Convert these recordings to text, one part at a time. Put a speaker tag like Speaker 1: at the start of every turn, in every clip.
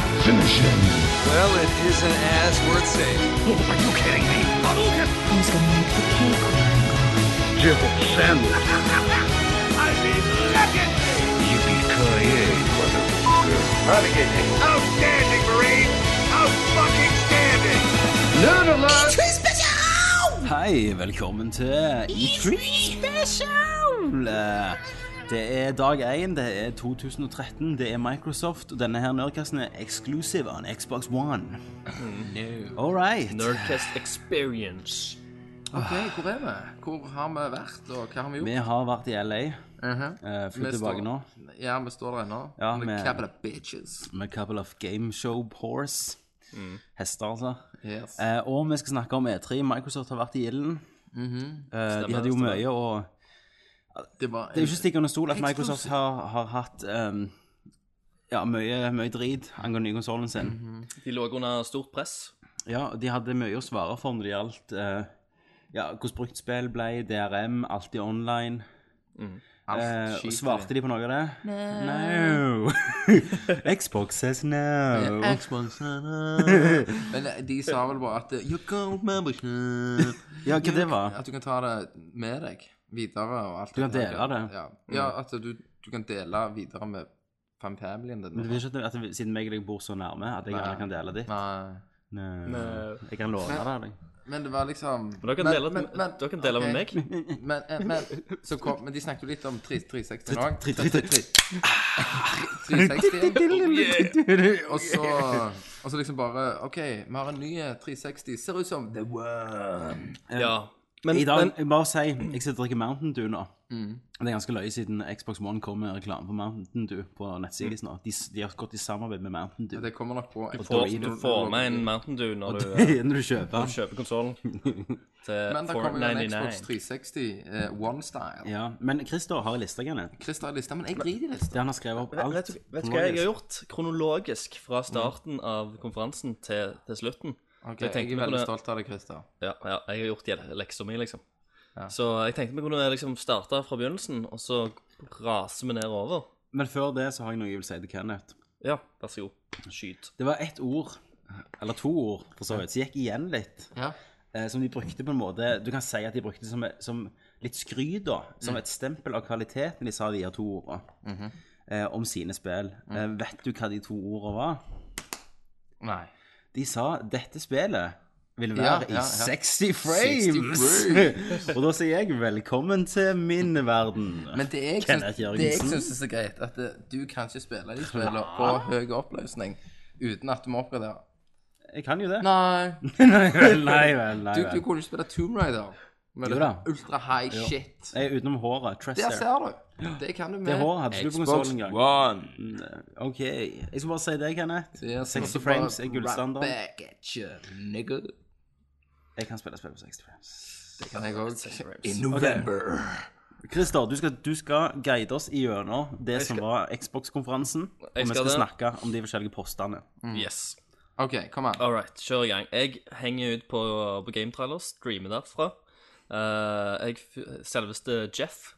Speaker 1: Edition.
Speaker 2: Well, it is an ass worth saving.
Speaker 3: Are you kidding me? Hadouken!
Speaker 4: Who's gonna make the cake work?
Speaker 3: Jibble sandwich. I mean, legendary!
Speaker 1: Yippee-ki-yay, motherfucker.
Speaker 3: Outstanding, Marine! Out-fucking standing!
Speaker 5: Hei, velkommen til E3 Special! Det er dag 1, det er 2013, det er Microsoft, og denne her Nerdcasten er exclusive on Xbox One.
Speaker 6: Mm, No.
Speaker 5: All right.
Speaker 6: Nerdcast Experience.
Speaker 7: Ok, hvor er vi? Hvor har vi vært, og hva har vi gjort?
Speaker 5: Vi har vært i LA,
Speaker 6: Uh-huh.
Speaker 7: Mhm.
Speaker 5: eh,
Speaker 7: Vi
Speaker 5: flytt tilbake
Speaker 7: står-
Speaker 5: nå,
Speaker 7: Ja, vi står der ennå.
Speaker 5: Ja,
Speaker 7: Med
Speaker 5: vi-
Speaker 7: capital bitches.
Speaker 5: med couple of game show pores.
Speaker 6: Mm.
Speaker 5: Hester, altså.
Speaker 7: Yes.
Speaker 5: Eh, og vi skal snakke om E3. Microsoft har vært i ilden. Eh, de hadde jo
Speaker 6: Mm-hmm. stemmer.
Speaker 5: mye å
Speaker 7: Det var
Speaker 5: Det er jo ikke stikk under stol at
Speaker 7: Xbox-
Speaker 5: Microsoft har, har hatt ehm, ja, mye, mye drit angående nykonsollen sin.
Speaker 6: De lå under stort press.
Speaker 5: Ja, de hadde mye å svare for når det gjaldt eh, ja, hvordan brukt spill ble, DRM, alltid online.
Speaker 7: alt
Speaker 5: Eh,
Speaker 7: skit i
Speaker 5: og
Speaker 7: det.
Speaker 5: svarte de på noe av det? No. Xbox says no.
Speaker 7: Xbox Men eh, de sa vel bare at eh, You can't membership.
Speaker 5: Ja, hva det var?
Speaker 7: At du kan ta det med deg videre og alt
Speaker 5: Du kan
Speaker 7: det der.
Speaker 5: dele det.
Speaker 7: Ja,
Speaker 5: Mm.
Speaker 7: ja at du, du kan dele videre med fam- familien din.
Speaker 5: Men Du vil ikke at, at vi- siden meg og deg bor så nærme, at jeg
Speaker 7: Nei.
Speaker 5: gjerne kan dele ditt?
Speaker 7: Nei.
Speaker 5: No.
Speaker 6: No.
Speaker 5: Jeg kan låne det av deg.
Speaker 7: Men det var liksom
Speaker 6: Men dere kan dele, dere kan dele
Speaker 7: ok.
Speaker 6: med meg.
Speaker 7: Men, eh, men, så kom, men de snakket jo litt om 3- 360 nå.
Speaker 5: Tre- tre- tre-
Speaker 7: 360. Og så, og så liksom bare OK, vi har en ny 360. Ser ut som The One.
Speaker 6: Ja. Men,
Speaker 5: I dag,
Speaker 6: men
Speaker 5: jeg bare si, jeg sitter og drikker Mountain Dew nå.
Speaker 7: Mm.
Speaker 5: Det er ganske løye siden Xbox One kom med reklame for Mountain Dew på nettsiden deres nå. De, s- de har gått i samarbeid med Mountain Dew.
Speaker 7: Det kommer nok på. Jeg
Speaker 6: du, du får med en Mountain Dew når du eh,
Speaker 5: Når du kjøper den.
Speaker 6: kjøper konsollen til
Speaker 7: Men det kommer jo en Xbox
Speaker 6: 499.
Speaker 7: 360 eh, One Style.
Speaker 5: Ja, men Christer har en liste, Kenneth.
Speaker 7: Christer har lista, men jeg driter i lista.
Speaker 5: Der han har skrevet opp alt.
Speaker 6: Vet du vet du hva jeg har gjort? Kronologisk fra starten av konferansen til, til slutten.
Speaker 7: Ok,
Speaker 6: Mm. jeg
Speaker 7: jeg,
Speaker 6: tenkte
Speaker 7: er
Speaker 6: vi
Speaker 7: veldig
Speaker 6: kunne-
Speaker 7: stolt av deg, Christer.
Speaker 6: Ja, ja jeg har gjort gjel- leksa mi, liksom. Så jeg tenkte vi kunne liksom starte fra begynnelsen, og så raser vi nedover.
Speaker 5: Men før det så har jeg noe jeg vil si til Kenneth.
Speaker 6: Ja, vær så god. Skyt.
Speaker 5: Det var ett ord, eller to ord, for så vidt, som gikk igjen litt.
Speaker 7: Ja.
Speaker 5: eh, Som de brukte på en måte Du kan si at de brukte det som, som litt skryt, da. Som
Speaker 7: Mm.
Speaker 5: et stempel av kvaliteten de sa de her to ordene.
Speaker 7: Mhm.
Speaker 5: eh, om sine spill.
Speaker 7: Mm.
Speaker 5: Eh, vet du hva de to ordene var?
Speaker 7: Nei.
Speaker 5: De sa 'dette spillet vil være
Speaker 7: Ja, ja, ja.
Speaker 5: i 60 frames'.
Speaker 7: 60
Speaker 5: Og da sier jeg velkommen til min verden.
Speaker 7: Men det jeg
Speaker 5: Kenneth
Speaker 7: syns, det jeg
Speaker 5: Jørgensen.
Speaker 7: syns er så greit, at eh, du kan ikke spille de spillene på høy oppløsning uten at du må oppgradere.
Speaker 5: Jeg kan jo det.
Speaker 7: Nei.
Speaker 5: nei vel, nei vel. Nei,
Speaker 7: Du, du
Speaker 5: vel.
Speaker 7: kunne ikke spille Tomb Raider med
Speaker 5: Jo
Speaker 7: det
Speaker 5: da.
Speaker 7: ultra high shit.
Speaker 5: Nei, utenom håret.
Speaker 7: Der
Speaker 5: Tresser.
Speaker 7: ser du. Det kan du med.
Speaker 5: Det håret hadde ikke du på konsollen engang.
Speaker 7: One.
Speaker 5: OK. Jeg skal bare si det, Kenneth.
Speaker 7: Det er sånn
Speaker 5: 60
Speaker 7: at du bare
Speaker 5: frames er gullstandard.
Speaker 7: right back at you, nigga.
Speaker 5: Jeg kan spille spill på 60 frames.
Speaker 7: Det kan jeg også. In November.
Speaker 5: Christer, du skal, du skal guide oss igjennom det som var Xbox-konferansen. Og vi
Speaker 6: Jeg
Speaker 5: skal
Speaker 6: skal det.
Speaker 5: snakke om de forskjellige postene.
Speaker 6: Yes.
Speaker 7: OK, kom an.
Speaker 6: All right, kjør i gang. Jeg henger ut på, på gametrailers, streamer derfra. Eh, jeg, f- selveste Jeff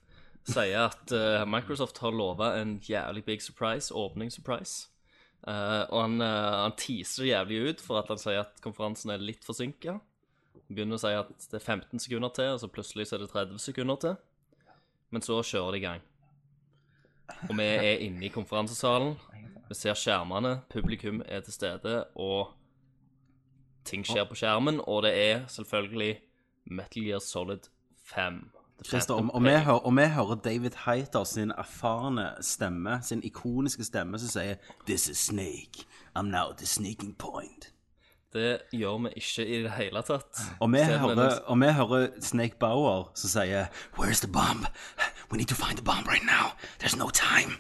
Speaker 6: sier at eh, Microsoft har lova en jævlig big surprise, åpning surprise. Eh, og han, eh, han teaser det jævlig ut for at han sier at konferansen er litt forsinka. Begynner å si at det er 15 sekunder til, og så plutselig så er det 30 sekunder til. Men så kjører det i gang. Og vi er inne i konferansesalen. Vi ser skjermene, publikum er til stede, og ting skjer på skjermen, og det er selvfølgelig Metal Gear Solid 5. The
Speaker 5: Christer, om,
Speaker 6: Phantom
Speaker 5: om, vi
Speaker 6: Pain.
Speaker 5: hører, om vi hører David Heiter sin erfarne stemme, sin ikoniske stemme, som sier This is Snake. I'm now at the sneaking point.
Speaker 6: Det gjør vi ikke i det hele tatt.
Speaker 5: Om vi
Speaker 6: Stemmer
Speaker 5: hører,
Speaker 6: det.
Speaker 5: om vi hører Snake Bauer som sier Where's the bomb? We need to find the bomb right now. There's no time.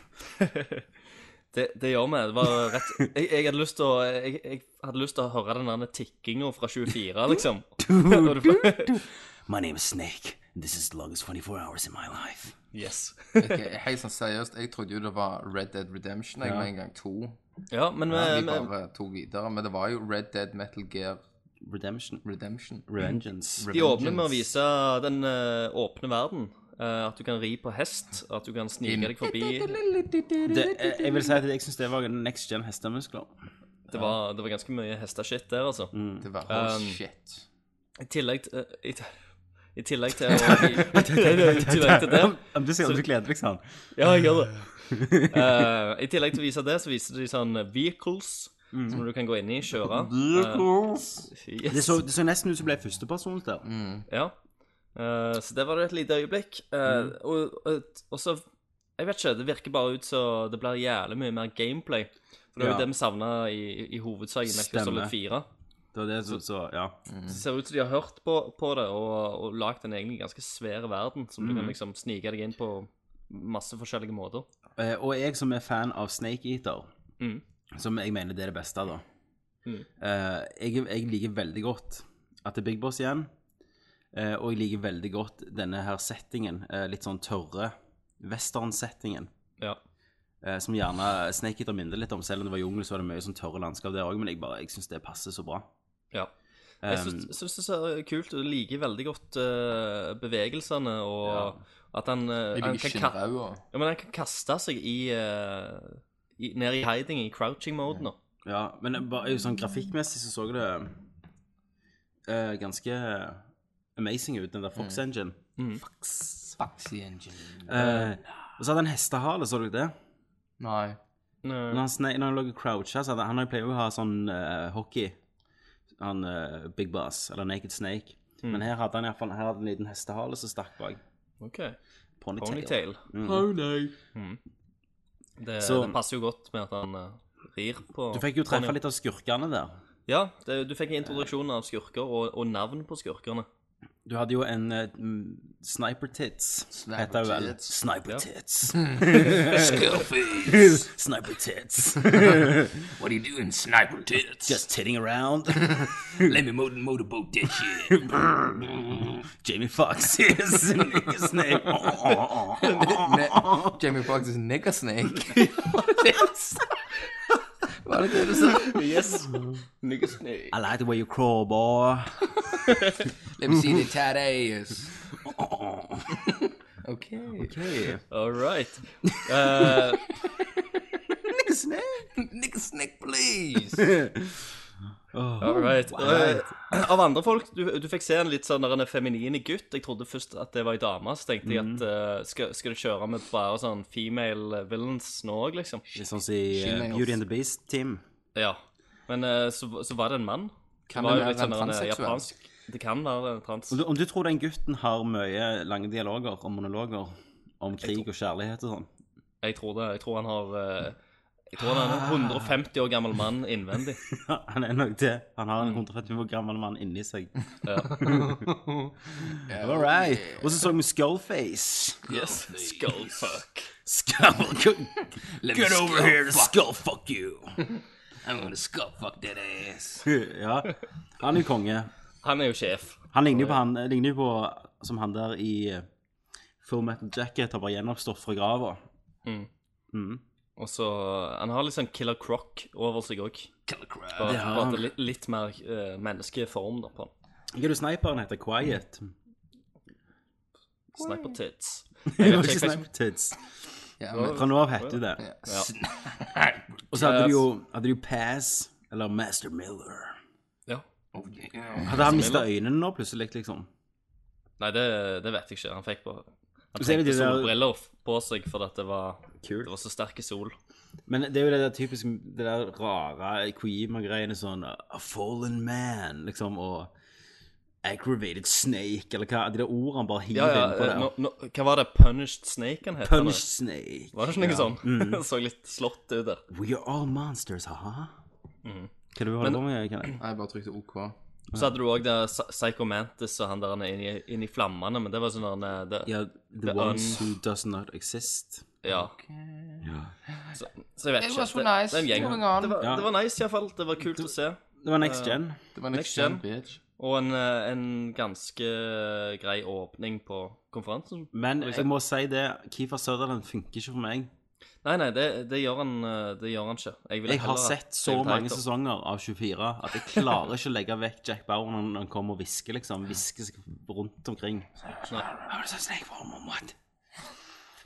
Speaker 6: Det, det gjør vi. Det var rett Jeg, jeg hadde lyst til å jeg, jeg hadde lyst til å høre den der tikkinga fra 24, liksom. Når du får-
Speaker 5: My name is Snake. This is the longest 24 hours in my life.
Speaker 6: yes.
Speaker 7: Ok, Helt sånn seriøst, jeg trodde jo det var Red Dead Redemption jeg med en gang to.
Speaker 6: Ja, Eh, men
Speaker 7: De
Speaker 6: vi, vi,
Speaker 7: bare tok videre. Men det var jo Red Dead Metal Gear
Speaker 5: Redemption. Mm.
Speaker 7: Redemption.
Speaker 5: Revengeance.
Speaker 6: de åpner med å vise den eh, åpne verden. eh, at du kan ri på hest, at du kan snike deg forbi
Speaker 5: Det, jeg, jeg vil si at jeg syns det var next gen hestemuskler.
Speaker 6: Det var, det var ganske mye hesteshit der, altså.
Speaker 5: Mm.
Speaker 7: Det var oh,
Speaker 6: Um,
Speaker 7: shit.
Speaker 6: I tillegg til i, I tillegg til å I, tillegg til det
Speaker 5: Men Du sier at du gleder deg sånn.
Speaker 6: Ja, jeg gjør det. Eh, I tillegg til å vise det, så viser de sånn vehicles som du kan gå inn i, kjøre. Eh, yes.
Speaker 5: Mm. Det så, det så nesten ut som det ble førstepersons der.
Speaker 6: Ja. Eh, så det var det et lite øyeblikk. Eh, og, og, og så Jeg vet ikke, det virker bare ut som det blir jævlig mye mer gameplay. For det er jo
Speaker 5: Ja.
Speaker 6: det vi savna i, i hovedsaken. Stemmer.
Speaker 5: Stemmer.
Speaker 6: Solid 4.
Speaker 5: Det var det som så, ja.
Speaker 6: Det ser ut som de har hørt på, på det og, og lagd en egentlig ganske svær verden som du kan liksom snike deg inn på masse forskjellige måter.
Speaker 5: Eh, Og jeg som er fan av Snake Eater,
Speaker 6: Mm.
Speaker 5: som jeg mener det er det beste, da
Speaker 6: Mm.
Speaker 5: eh, jeg, jeg liker veldig godt at det er Big Boss igjen, eh, og jeg liker veldig godt denne her settingen, eh, litt sånn tørre western-settingen,
Speaker 6: Ja.
Speaker 5: eh, som gjerne Snake Eater minner litt om. Selv om det var jungel, så var det mye sånn tørre landskap der òg, men jeg, bare- jeg syns det passer så bra.
Speaker 6: ja.
Speaker 5: Eh,
Speaker 6: Jeg syns- syns det ser kult ut. Jeg liker veldig godt eh, bevegelsene og at han, eh,
Speaker 7: Jeg
Speaker 6: han
Speaker 7: liker
Speaker 6: kan ka-
Speaker 7: skinnrau og
Speaker 6: Ja, men han kan kaste seg i, eh, i ned i hiding, i crouching mode nå.
Speaker 5: ja, men det bare, sånn grafikkmessig så så det eh, ganske amazing ut, den der Fox Engine.
Speaker 7: Foxy Engine.
Speaker 5: Eh, og så hadde han hestehale, så dere det?
Speaker 7: Nei.
Speaker 6: Eh,
Speaker 5: Når han, sne- når han lå og croucha, så hadde han han pleier jo å ha sånn eh, hockey. Han eh, Big Bass, eller Naked Snake.
Speaker 8: Mm.
Speaker 5: Men her hadde han i hvert fall her hadde han en liten hestehale som stakk bak.
Speaker 6: OK.
Speaker 5: Ponytail.
Speaker 6: Ponytail.
Speaker 7: Oh, nei.
Speaker 6: Det,
Speaker 5: Mm. Så-
Speaker 6: det passer jo godt med at han eh, rir på
Speaker 5: Du fikk jo treffe
Speaker 6: pony.
Speaker 5: litt av skurkene der.
Speaker 6: Ja, det, du fikk en introduksjon av skurker og, og navn på skurkene.
Speaker 5: Du hadde jo en eh, mm, Sniper Tits,
Speaker 7: Sniper
Speaker 5: heter det vel.
Speaker 7: Tits.
Speaker 5: Sniper
Speaker 6: Ja.
Speaker 5: Tits.
Speaker 8: Scarface,
Speaker 5: Sniper Tits.
Speaker 8: what are you doing, sniper tits?
Speaker 5: Just titting around.
Speaker 8: let me motor motorboat that shit.
Speaker 5: Jamie Fox is Naked Snake.
Speaker 7: Ne- Jamie Foxx is nigger snake. Var det det du sa?
Speaker 6: Yes.
Speaker 5: I like the way you crawl, boy.
Speaker 7: Let me see the tat ass. OK.
Speaker 6: All right. Eh,
Speaker 7: Nigger snake, please.
Speaker 6: all right. Eh, av andre folk du, du fikk se en litt sånn der en feminin gutt. Jeg trodde først at det var ei dame. Så tenkte jeg
Speaker 5: Mhm.
Speaker 6: at eh, skal, skal du kjøre med bare sånn female villains nå òg, liksom?
Speaker 5: Litt sånn som i eh,
Speaker 7: Shemales.
Speaker 5: Beauty and the Beast, Tim.
Speaker 6: Ja. Men eh, så, så var det en mann.
Speaker 7: Kan
Speaker 6: det var
Speaker 7: det
Speaker 6: jo
Speaker 7: være
Speaker 6: litt sånn
Speaker 7: en
Speaker 6: en, eh,
Speaker 7: transseksuell?
Speaker 6: japansk Det kan være en trans.
Speaker 5: Om du, om du tror den gutten har mye lange dialoger og monologer om krig og kjærlighet og sånn
Speaker 6: Jeg tror det. Jeg tror han har eh, Jeg tror han er en 150 år gammel mann innvendig.
Speaker 5: Han er nok det. Han har en 150 år gammel mann inni seg. All right. Og så så vi Skullface.
Speaker 6: Yes. Skullfuck.
Speaker 5: Skull,
Speaker 8: Let
Speaker 5: get
Speaker 8: me
Speaker 5: over
Speaker 8: skull
Speaker 5: here to
Speaker 8: fuck.
Speaker 5: skull fuck you.
Speaker 8: I'm gonna skull fuck that ass.
Speaker 5: ja. Han er jo konge.
Speaker 6: Han er jo sjef.
Speaker 5: Han ligner jo på han ligner jo på som han der i eh, Full Metal Jacket har bare gjenoppstått fra grava.
Speaker 6: Og så Han har litt sånn Killer Croc over seg òg.
Speaker 8: Killer crab.
Speaker 6: Bare,
Speaker 5: Ja.
Speaker 6: bare at det er litt, litt mer eh, menneskeform da på han.
Speaker 5: Hva er det sniperen heter? Quiet?
Speaker 6: Sniper tits.
Speaker 5: Det
Speaker 6: Jeg
Speaker 5: var ikke
Speaker 6: vet ikke, jeg,
Speaker 5: Sniper Tits.
Speaker 7: Ja, men
Speaker 5: Fra nå av heter du det. Og så hadde du jo, hadde du jo Pass, eller Master Miller.
Speaker 6: ja.
Speaker 8: Oh, yeah.
Speaker 5: Hadde han mista øynene nå plutselig, liksom?
Speaker 6: Nei, det, det vet jeg ikke. Han fikk bare
Speaker 5: Så er
Speaker 6: Han
Speaker 5: det
Speaker 6: trengte
Speaker 5: de der-
Speaker 6: solbriller f- på seg fordi at det var,
Speaker 5: Kult.
Speaker 6: det var så sterk sol.
Speaker 5: Men det er jo det der typiske, det der rare Kojima-greiene, sånn A fallen man, liksom, og Aggravated snake, eller hva? De der ordene bare hiver
Speaker 6: Ja, ja,
Speaker 5: inn på
Speaker 6: eh,
Speaker 5: det.
Speaker 6: nå- nå- hva var det? Punished Snake han het?
Speaker 5: Punished snake.
Speaker 6: Var det ikke noe
Speaker 5: Ja. Mm.
Speaker 6: sånn? så litt slått ut der.
Speaker 5: We are all monsters, haha.
Speaker 6: Mm.
Speaker 5: Hva er det du holder på med, Kenneth?
Speaker 7: Nei, jeg bare trykte OK.
Speaker 6: Så hadde du òg Psycho Mantis og han der han er inni, inni flammene, men det var sånn han eh, det,
Speaker 5: Ja, the
Speaker 6: The
Speaker 5: ones
Speaker 6: un-
Speaker 5: who does not exist.
Speaker 6: Ja. Så, så jeg vet
Speaker 7: It
Speaker 6: ikke.
Speaker 7: was
Speaker 6: Det,
Speaker 7: nice.
Speaker 6: det er en gjeng.
Speaker 7: Moving on.
Speaker 6: Det var,
Speaker 5: Ja.
Speaker 6: det var nice, iallfall. Det var kult å se.
Speaker 5: Det var next gen.
Speaker 7: Det var
Speaker 6: Next
Speaker 7: next gen,
Speaker 6: gen.
Speaker 7: bitch.
Speaker 6: Og en, eh, en ganske eh, grei åpning på konferansen.
Speaker 5: Men jeg må si det, Keefer Sutherland funker ikke for meg.
Speaker 6: Nei, nei, det, det, gjør, han, eh, det gjør han ikke. Jeg, ville
Speaker 5: Jeg har
Speaker 6: heller ha
Speaker 5: sett så
Speaker 6: David
Speaker 5: mange
Speaker 6: Hayter.
Speaker 5: sesonger av 24 at jeg klarer ikke å legge vekk Jack Bauer når han kommer og hvisker, liksom. Hvisker seg rundt omkring.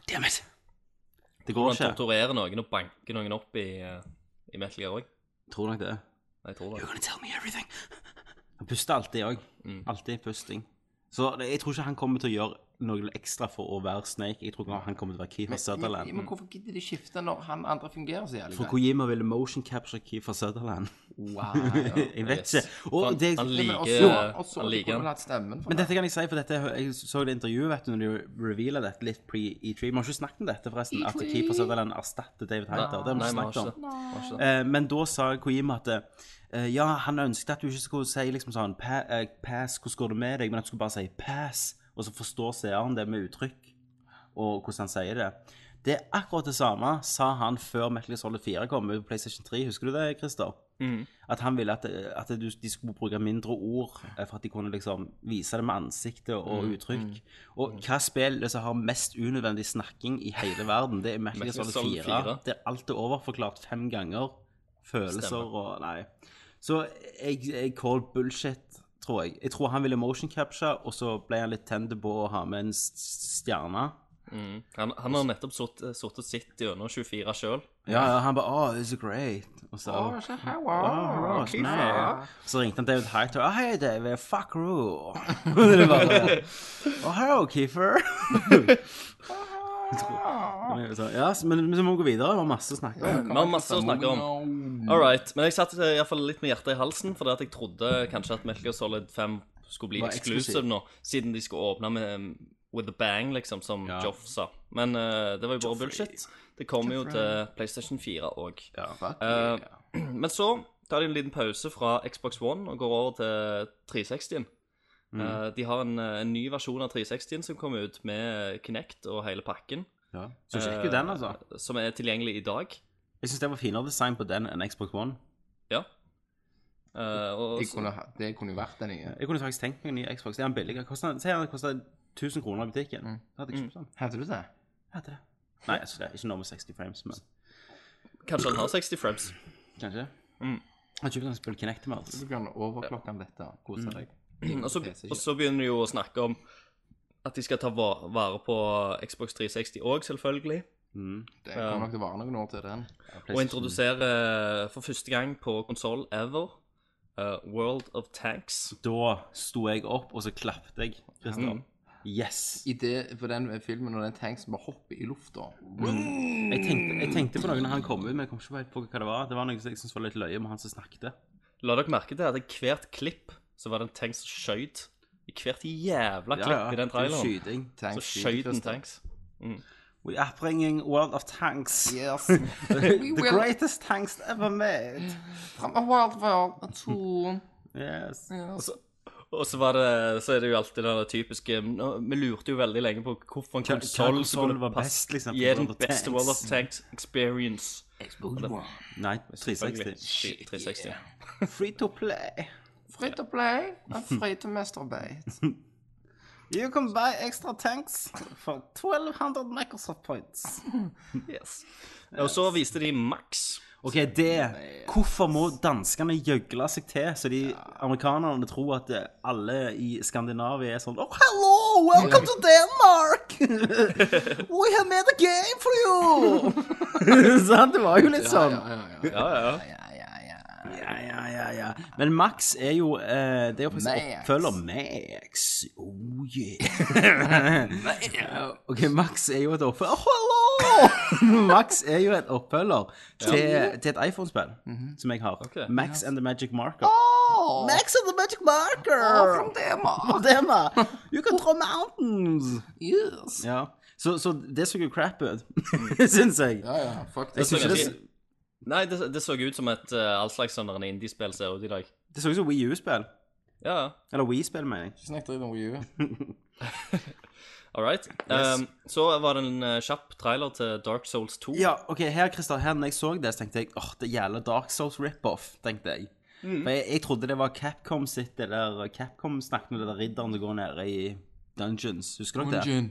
Speaker 5: Damn it. Det går
Speaker 6: Han
Speaker 5: ikke.
Speaker 6: torturerer noen og banker noen opp i, eh, i Metal Gear òg.
Speaker 5: Tror nok det.
Speaker 6: Jeg tror det.
Speaker 5: You're gonna tell me everything. Han puster alltid òg.
Speaker 6: Mm.
Speaker 5: Alltid pusting. Så det, jeg tror ikke han kommer til å gjøre noe ekstra for å være Snake. Jeg tror ikke han kommer til å være Keefer
Speaker 7: Men,
Speaker 5: Sutherland.
Speaker 7: men hvorfor gidder de skifte når han andre fungerer så jævlig
Speaker 5: For Kojima ville motion capture Keefer Sutherland.
Speaker 7: Wow.
Speaker 5: Jeg vet
Speaker 6: Yes.
Speaker 5: ikke. Og
Speaker 6: Han-
Speaker 5: det,
Speaker 6: han
Speaker 7: Men
Speaker 6: liker-
Speaker 7: også, også,
Speaker 6: han
Speaker 7: han
Speaker 6: liker
Speaker 7: liker
Speaker 6: han.
Speaker 7: hatt stemmen for det.
Speaker 5: Men dette kan jeg si, for dette, jeg så det intervjuet vet du, når de reveala dette litt pre-E3. Vi har ikke snakket om dette, forresten, at Keeper Sutherland erstatter David Hunter. Det har vi
Speaker 6: Nei,
Speaker 5: ikke
Speaker 6: vi har
Speaker 5: snakket om.
Speaker 6: ikke det. Vi har ikke det.
Speaker 5: Eh, men da sa Kojima at eh, ja, han ønsket at du ikke skulle si liksom sånn pa, eh, pass, hvordan går det med deg, men at du skulle bare si pass, og så forstår seeren det med uttrykk og hvordan han sier det. Det er akkurat det samme sa han før Metal Gear Solid 4 kom ut på PlayStation 3. Husker du det, Christer? At han ville at, at du, de skulle bruke mindre ord eh, for at de kunne liksom vise det med ansiktet og uttrykk. Og hva spill som har mest unødvendig snakking i hele verden, det er Metal Gear Solid 4.
Speaker 6: 4.
Speaker 5: Der alt er overforklart fem ganger. Følelser og Nei. Så jeg, jeg call bullshit, tror jeg. Jeg tror han ville motion capture, og så ble han litt tender på å ha med en s- s- stjerne.
Speaker 6: Mm. Han, han har nettopp sittet og sett gjennom 24 sjøl.
Speaker 5: Ja, ja, han bare Åh, it's great. Og så
Speaker 7: Å, så her, wow.
Speaker 5: «Åh, sånn,
Speaker 7: Ok,
Speaker 5: nei».
Speaker 7: faen.
Speaker 5: Så ringte han David Hightower. Å, hei, David. Fuck you. Det var bare Å, hello, Keefer. ja, så- men men så må vi gå videre. Det var masse å snakke om.
Speaker 6: Vi har masse å snakke om. All right. Men jeg satt eh, i hvert fall litt med hjertet i halsen, fordi at jeg trodde kanskje at Metal Gear Solid 5 skulle bli
Speaker 5: Var eksklusiv.
Speaker 6: exclusive nå, siden de skulle åpne med um, With a bang, liksom, som
Speaker 5: Ja.
Speaker 6: Joff sa. Men eh, det var jo bare bullshit. Det kommer jo til PlayStation 4 òg.
Speaker 7: Fuck
Speaker 6: Eh,
Speaker 7: yeah.
Speaker 6: Men så tar de en liten pause fra Xbox One og går over til 360-en.
Speaker 5: Mm.
Speaker 6: Eh, de har en, eh, en ny versjon av 360-en som kommer ut med Kinect og hele pakken.
Speaker 5: Ja. Så sjekk jo den, altså.
Speaker 6: eh, Som er tilgjengelig i dag.
Speaker 5: Jeg syns det var finere design på den enn Xbox One.
Speaker 6: Ja. Eh, og
Speaker 7: Jeg kunne, ha- det kunne jo vært den nye.
Speaker 5: Jeg kunne faktisk tenkt meg en ny Xbox. Er den billigere? Koster den- Si den koster 1000 kroner i butikken.
Speaker 7: Mm.
Speaker 5: Da hadde jeg kjøpt den.
Speaker 7: Hadde du det?
Speaker 5: Jeg hadde det. Nei, altså, det er ikke noe med 60 frames, men
Speaker 6: kanskje han har 60 frames.
Speaker 5: kanskje. Mm.
Speaker 7: Mm.
Speaker 5: Jeg kjøpte en spill Kinect med alt.
Speaker 7: Du kan overklokke om dette. Kose
Speaker 6: Mm.
Speaker 7: deg.
Speaker 6: Og så, og så begynner de jo å snakke om at de skal ta va- vare på Xbox 360 òg, selvfølgelig.
Speaker 7: Det kommer nok til å vare noen år til den.
Speaker 6: Og introdusere eh, for første gang på konsoll ever eh, World of Tanks.
Speaker 5: Da sto jeg opp, og så klappte jeg. Kristian. Yes.
Speaker 7: I det, for den filmen og den tanks bare hopper i lufta.
Speaker 5: Jeg tenkte, jeg tenkte på noe når han kom ut, men jeg kom ikke på hva det var. Det var noe som jeg syntes var litt løye med han som snakket.
Speaker 6: La dere merke til at i hvert klipp så var det en tanks som skjøt. I hvert jævla klipp i den
Speaker 5: det er jo
Speaker 6: traileren
Speaker 5: skyting.
Speaker 6: så
Speaker 7: Tanks
Speaker 6: skjøt en
Speaker 7: Christer.
Speaker 6: tanks.
Speaker 5: We are bringing World of Tanks.
Speaker 7: Yes.
Speaker 5: The
Speaker 7: will.
Speaker 5: greatest tanks ever made.
Speaker 7: Fram av Wild World 2.
Speaker 5: Yes.
Speaker 6: Og så, var det, så er det jo alltid det typiske nå- Vi lurte jo veldig lenge på hvorfor en
Speaker 5: Hva- hva
Speaker 6: konsoll
Speaker 5: konsoll var best, liksom, for
Speaker 6: Gi den
Speaker 5: World of Tanks.
Speaker 6: beste World of Tanks experience.
Speaker 5: Nei, 360.
Speaker 6: Selvfølgelig. 360.
Speaker 5: Free to play.
Speaker 7: Free to play og free to masturbate.
Speaker 5: You can buy extra tanks for 1200 Microsoft points.
Speaker 6: Yes. Og så viste de Max.
Speaker 5: Ok, det Hvorfor må danskene gjøgle seg til, så de amerikanerne tror at eh, alle i Skandinavia er sånn Oh, hello! Welcome to Denmark! We have made a game for you! Sant? Det var jo litt sånn.
Speaker 6: Ja, ja.
Speaker 5: Ja, ja, ja, ja. Men Max er jo eh, Det er jo faktisk
Speaker 7: Max.
Speaker 5: oppfølger Max. Oh yeah. OK, Max er jo et oppfølger Hallo! Max er jo et oppfølger til, til et iPhone-spill som jeg har.
Speaker 6: Ok.
Speaker 5: Max and the Magic Marker.
Speaker 7: Oh,
Speaker 5: Max and the Magic Marker! From Denmark. You can draw mountains!
Speaker 7: Yes.
Speaker 5: Ja. Så, så det så jo crap ut, syns jeg.
Speaker 7: Ja, ja, fuck
Speaker 5: Jeg
Speaker 7: det.
Speaker 6: sånn
Speaker 5: synes ikke det,
Speaker 6: Nei, det, det så ut som et uh, all slags sånn der indie-spill ser ut i dag.
Speaker 5: det så ut som Wii U-spill.
Speaker 6: Ja, ja.
Speaker 5: Eller Wii-spill, mener jeg.
Speaker 7: Ikke snakk dritt om Wii U.
Speaker 6: All right. Um, så var det en eh, kjapp trailer til Dark Souls 2.
Speaker 5: Ja, ok, her, Christer, her når jeg så det, så tenkte jeg åh, det gjelder Dark Souls rip-off, tenkte jeg. For jeg, jeg trodde det var Capcom sitt, det der Capcom snakket med det der ridderen som går nede i dungeons. Husker dere det?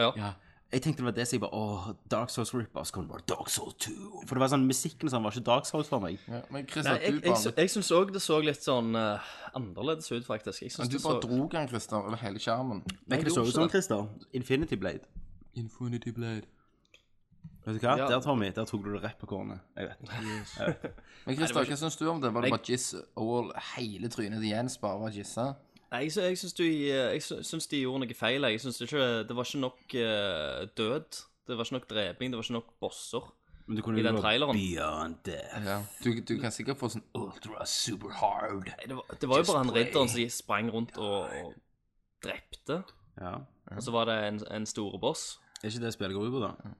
Speaker 6: Ja.
Speaker 5: Jeg tenkte det var det, så jeg bare åh, Dark Souls rip-off, så kom det bare Dark Souls 2. For det var sånn, musikken og sånn var ikke Dark Souls for meg.
Speaker 7: Ja, men Christer,
Speaker 6: Nei, jeg,
Speaker 7: du
Speaker 6: jeg, sy-
Speaker 7: bare,
Speaker 6: jeg syns òg det så litt sånn eh, annerledes ut, faktisk. Jeg syns
Speaker 7: du
Speaker 6: det så
Speaker 7: bare drog han, Christer, over hele skjermen.
Speaker 5: Men hva
Speaker 6: jeg
Speaker 5: så
Speaker 6: gjorde
Speaker 5: ut
Speaker 6: ikke
Speaker 5: som,
Speaker 6: det.
Speaker 5: Christer? Infinity Blade.
Speaker 7: Infinity Blade.
Speaker 5: Vet du hva?
Speaker 6: Ja.
Speaker 5: Der, Tommy, der tok du det rett på kornet. Jeg vet. Jeg vet.
Speaker 7: Men Christer, hva syns du om det? Var det
Speaker 6: Jeg-
Speaker 7: bare jizz all hele trynet til Jens? Bare var jizza?
Speaker 6: Nei, jeg, sy- jeg, syns de, jeg sy- syns de gjorde noe feil. Jeg syns ikke Det var ikke nok eh, død. Det var ikke nok dreping. Det var ikke nok bosser.
Speaker 5: Men du kunne
Speaker 6: I den
Speaker 5: jo gå
Speaker 6: traileren.
Speaker 5: Beyond death.
Speaker 7: Ja. Du, du kan sikkert få sånn ultra super hard.
Speaker 6: Nei, det, var, det var jo bare han ridderen som sprang rundt og, og drepte.
Speaker 5: Ja.
Speaker 6: Og så var det en, en store boss.
Speaker 5: Er ikke det spillet går ut på, da?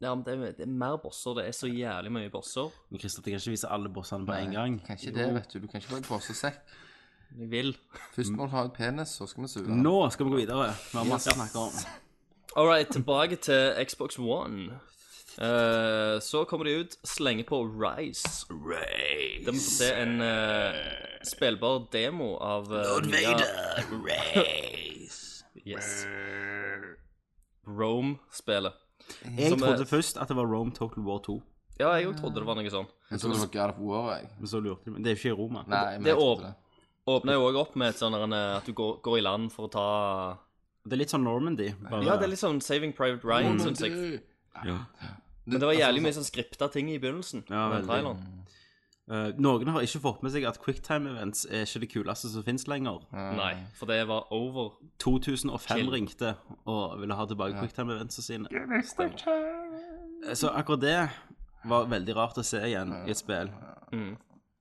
Speaker 6: Ja, men det er, det er mer bosser. Det er så jævlig mye bosser.
Speaker 5: Men Christer, jeg kan ikke vise alle bossene på en
Speaker 7: Nei,
Speaker 5: gang.
Speaker 7: Kan ikke det, vet du. Du kan ikke bare passe sekk.
Speaker 6: Jeg vil.
Speaker 7: Først må du ha en penis, så skal vi suge. den.
Speaker 5: Mm. Nå skal vi gå videre. Vi har masse å snakke om.
Speaker 6: All right, tilbake til Xbox One. Eh, så kommer de ut, slenger på Rise. Rise. Der vi får se en eh, spillbar demo av eh, nye- Yes. Rome-spelet.
Speaker 5: Jeg
Speaker 6: Som er-
Speaker 5: trodde først at det var Rome Total War 2.
Speaker 6: Ja, jeg òg trodde det var noe sånn.
Speaker 7: Jeg tror det var God of War, jeg.
Speaker 5: Men så lurte de Men det er jo ikke i Roma.
Speaker 7: Nei, men
Speaker 6: det
Speaker 7: jeg
Speaker 6: er
Speaker 7: trodde det.
Speaker 6: Åpner jo òg opp med et sånn der en, eh, at du går, går i land for å ta
Speaker 5: Det er litt sånn Normandy. Bare...
Speaker 6: Ja, det er litt sånn Saving Private
Speaker 5: Mm.
Speaker 7: Mm.
Speaker 6: Ryan, syns jeg.
Speaker 5: Ja.
Speaker 6: Men
Speaker 7: altså,
Speaker 6: det var jævlig mye sånn skripta ting i begynnelsen.
Speaker 5: Ja, veldig.
Speaker 6: med traileren.
Speaker 5: Eh, noen har ikke fått med seg at quicktime events er ikke det kuleste som finnes lenger.
Speaker 6: Nei, for det var over.
Speaker 5: 2005
Speaker 6: Chill.
Speaker 5: ringte og ville ha tilbake quicktime events sine. Eh, Så akkurat det var veldig rart å se igjen i et spill.
Speaker 6: Mm.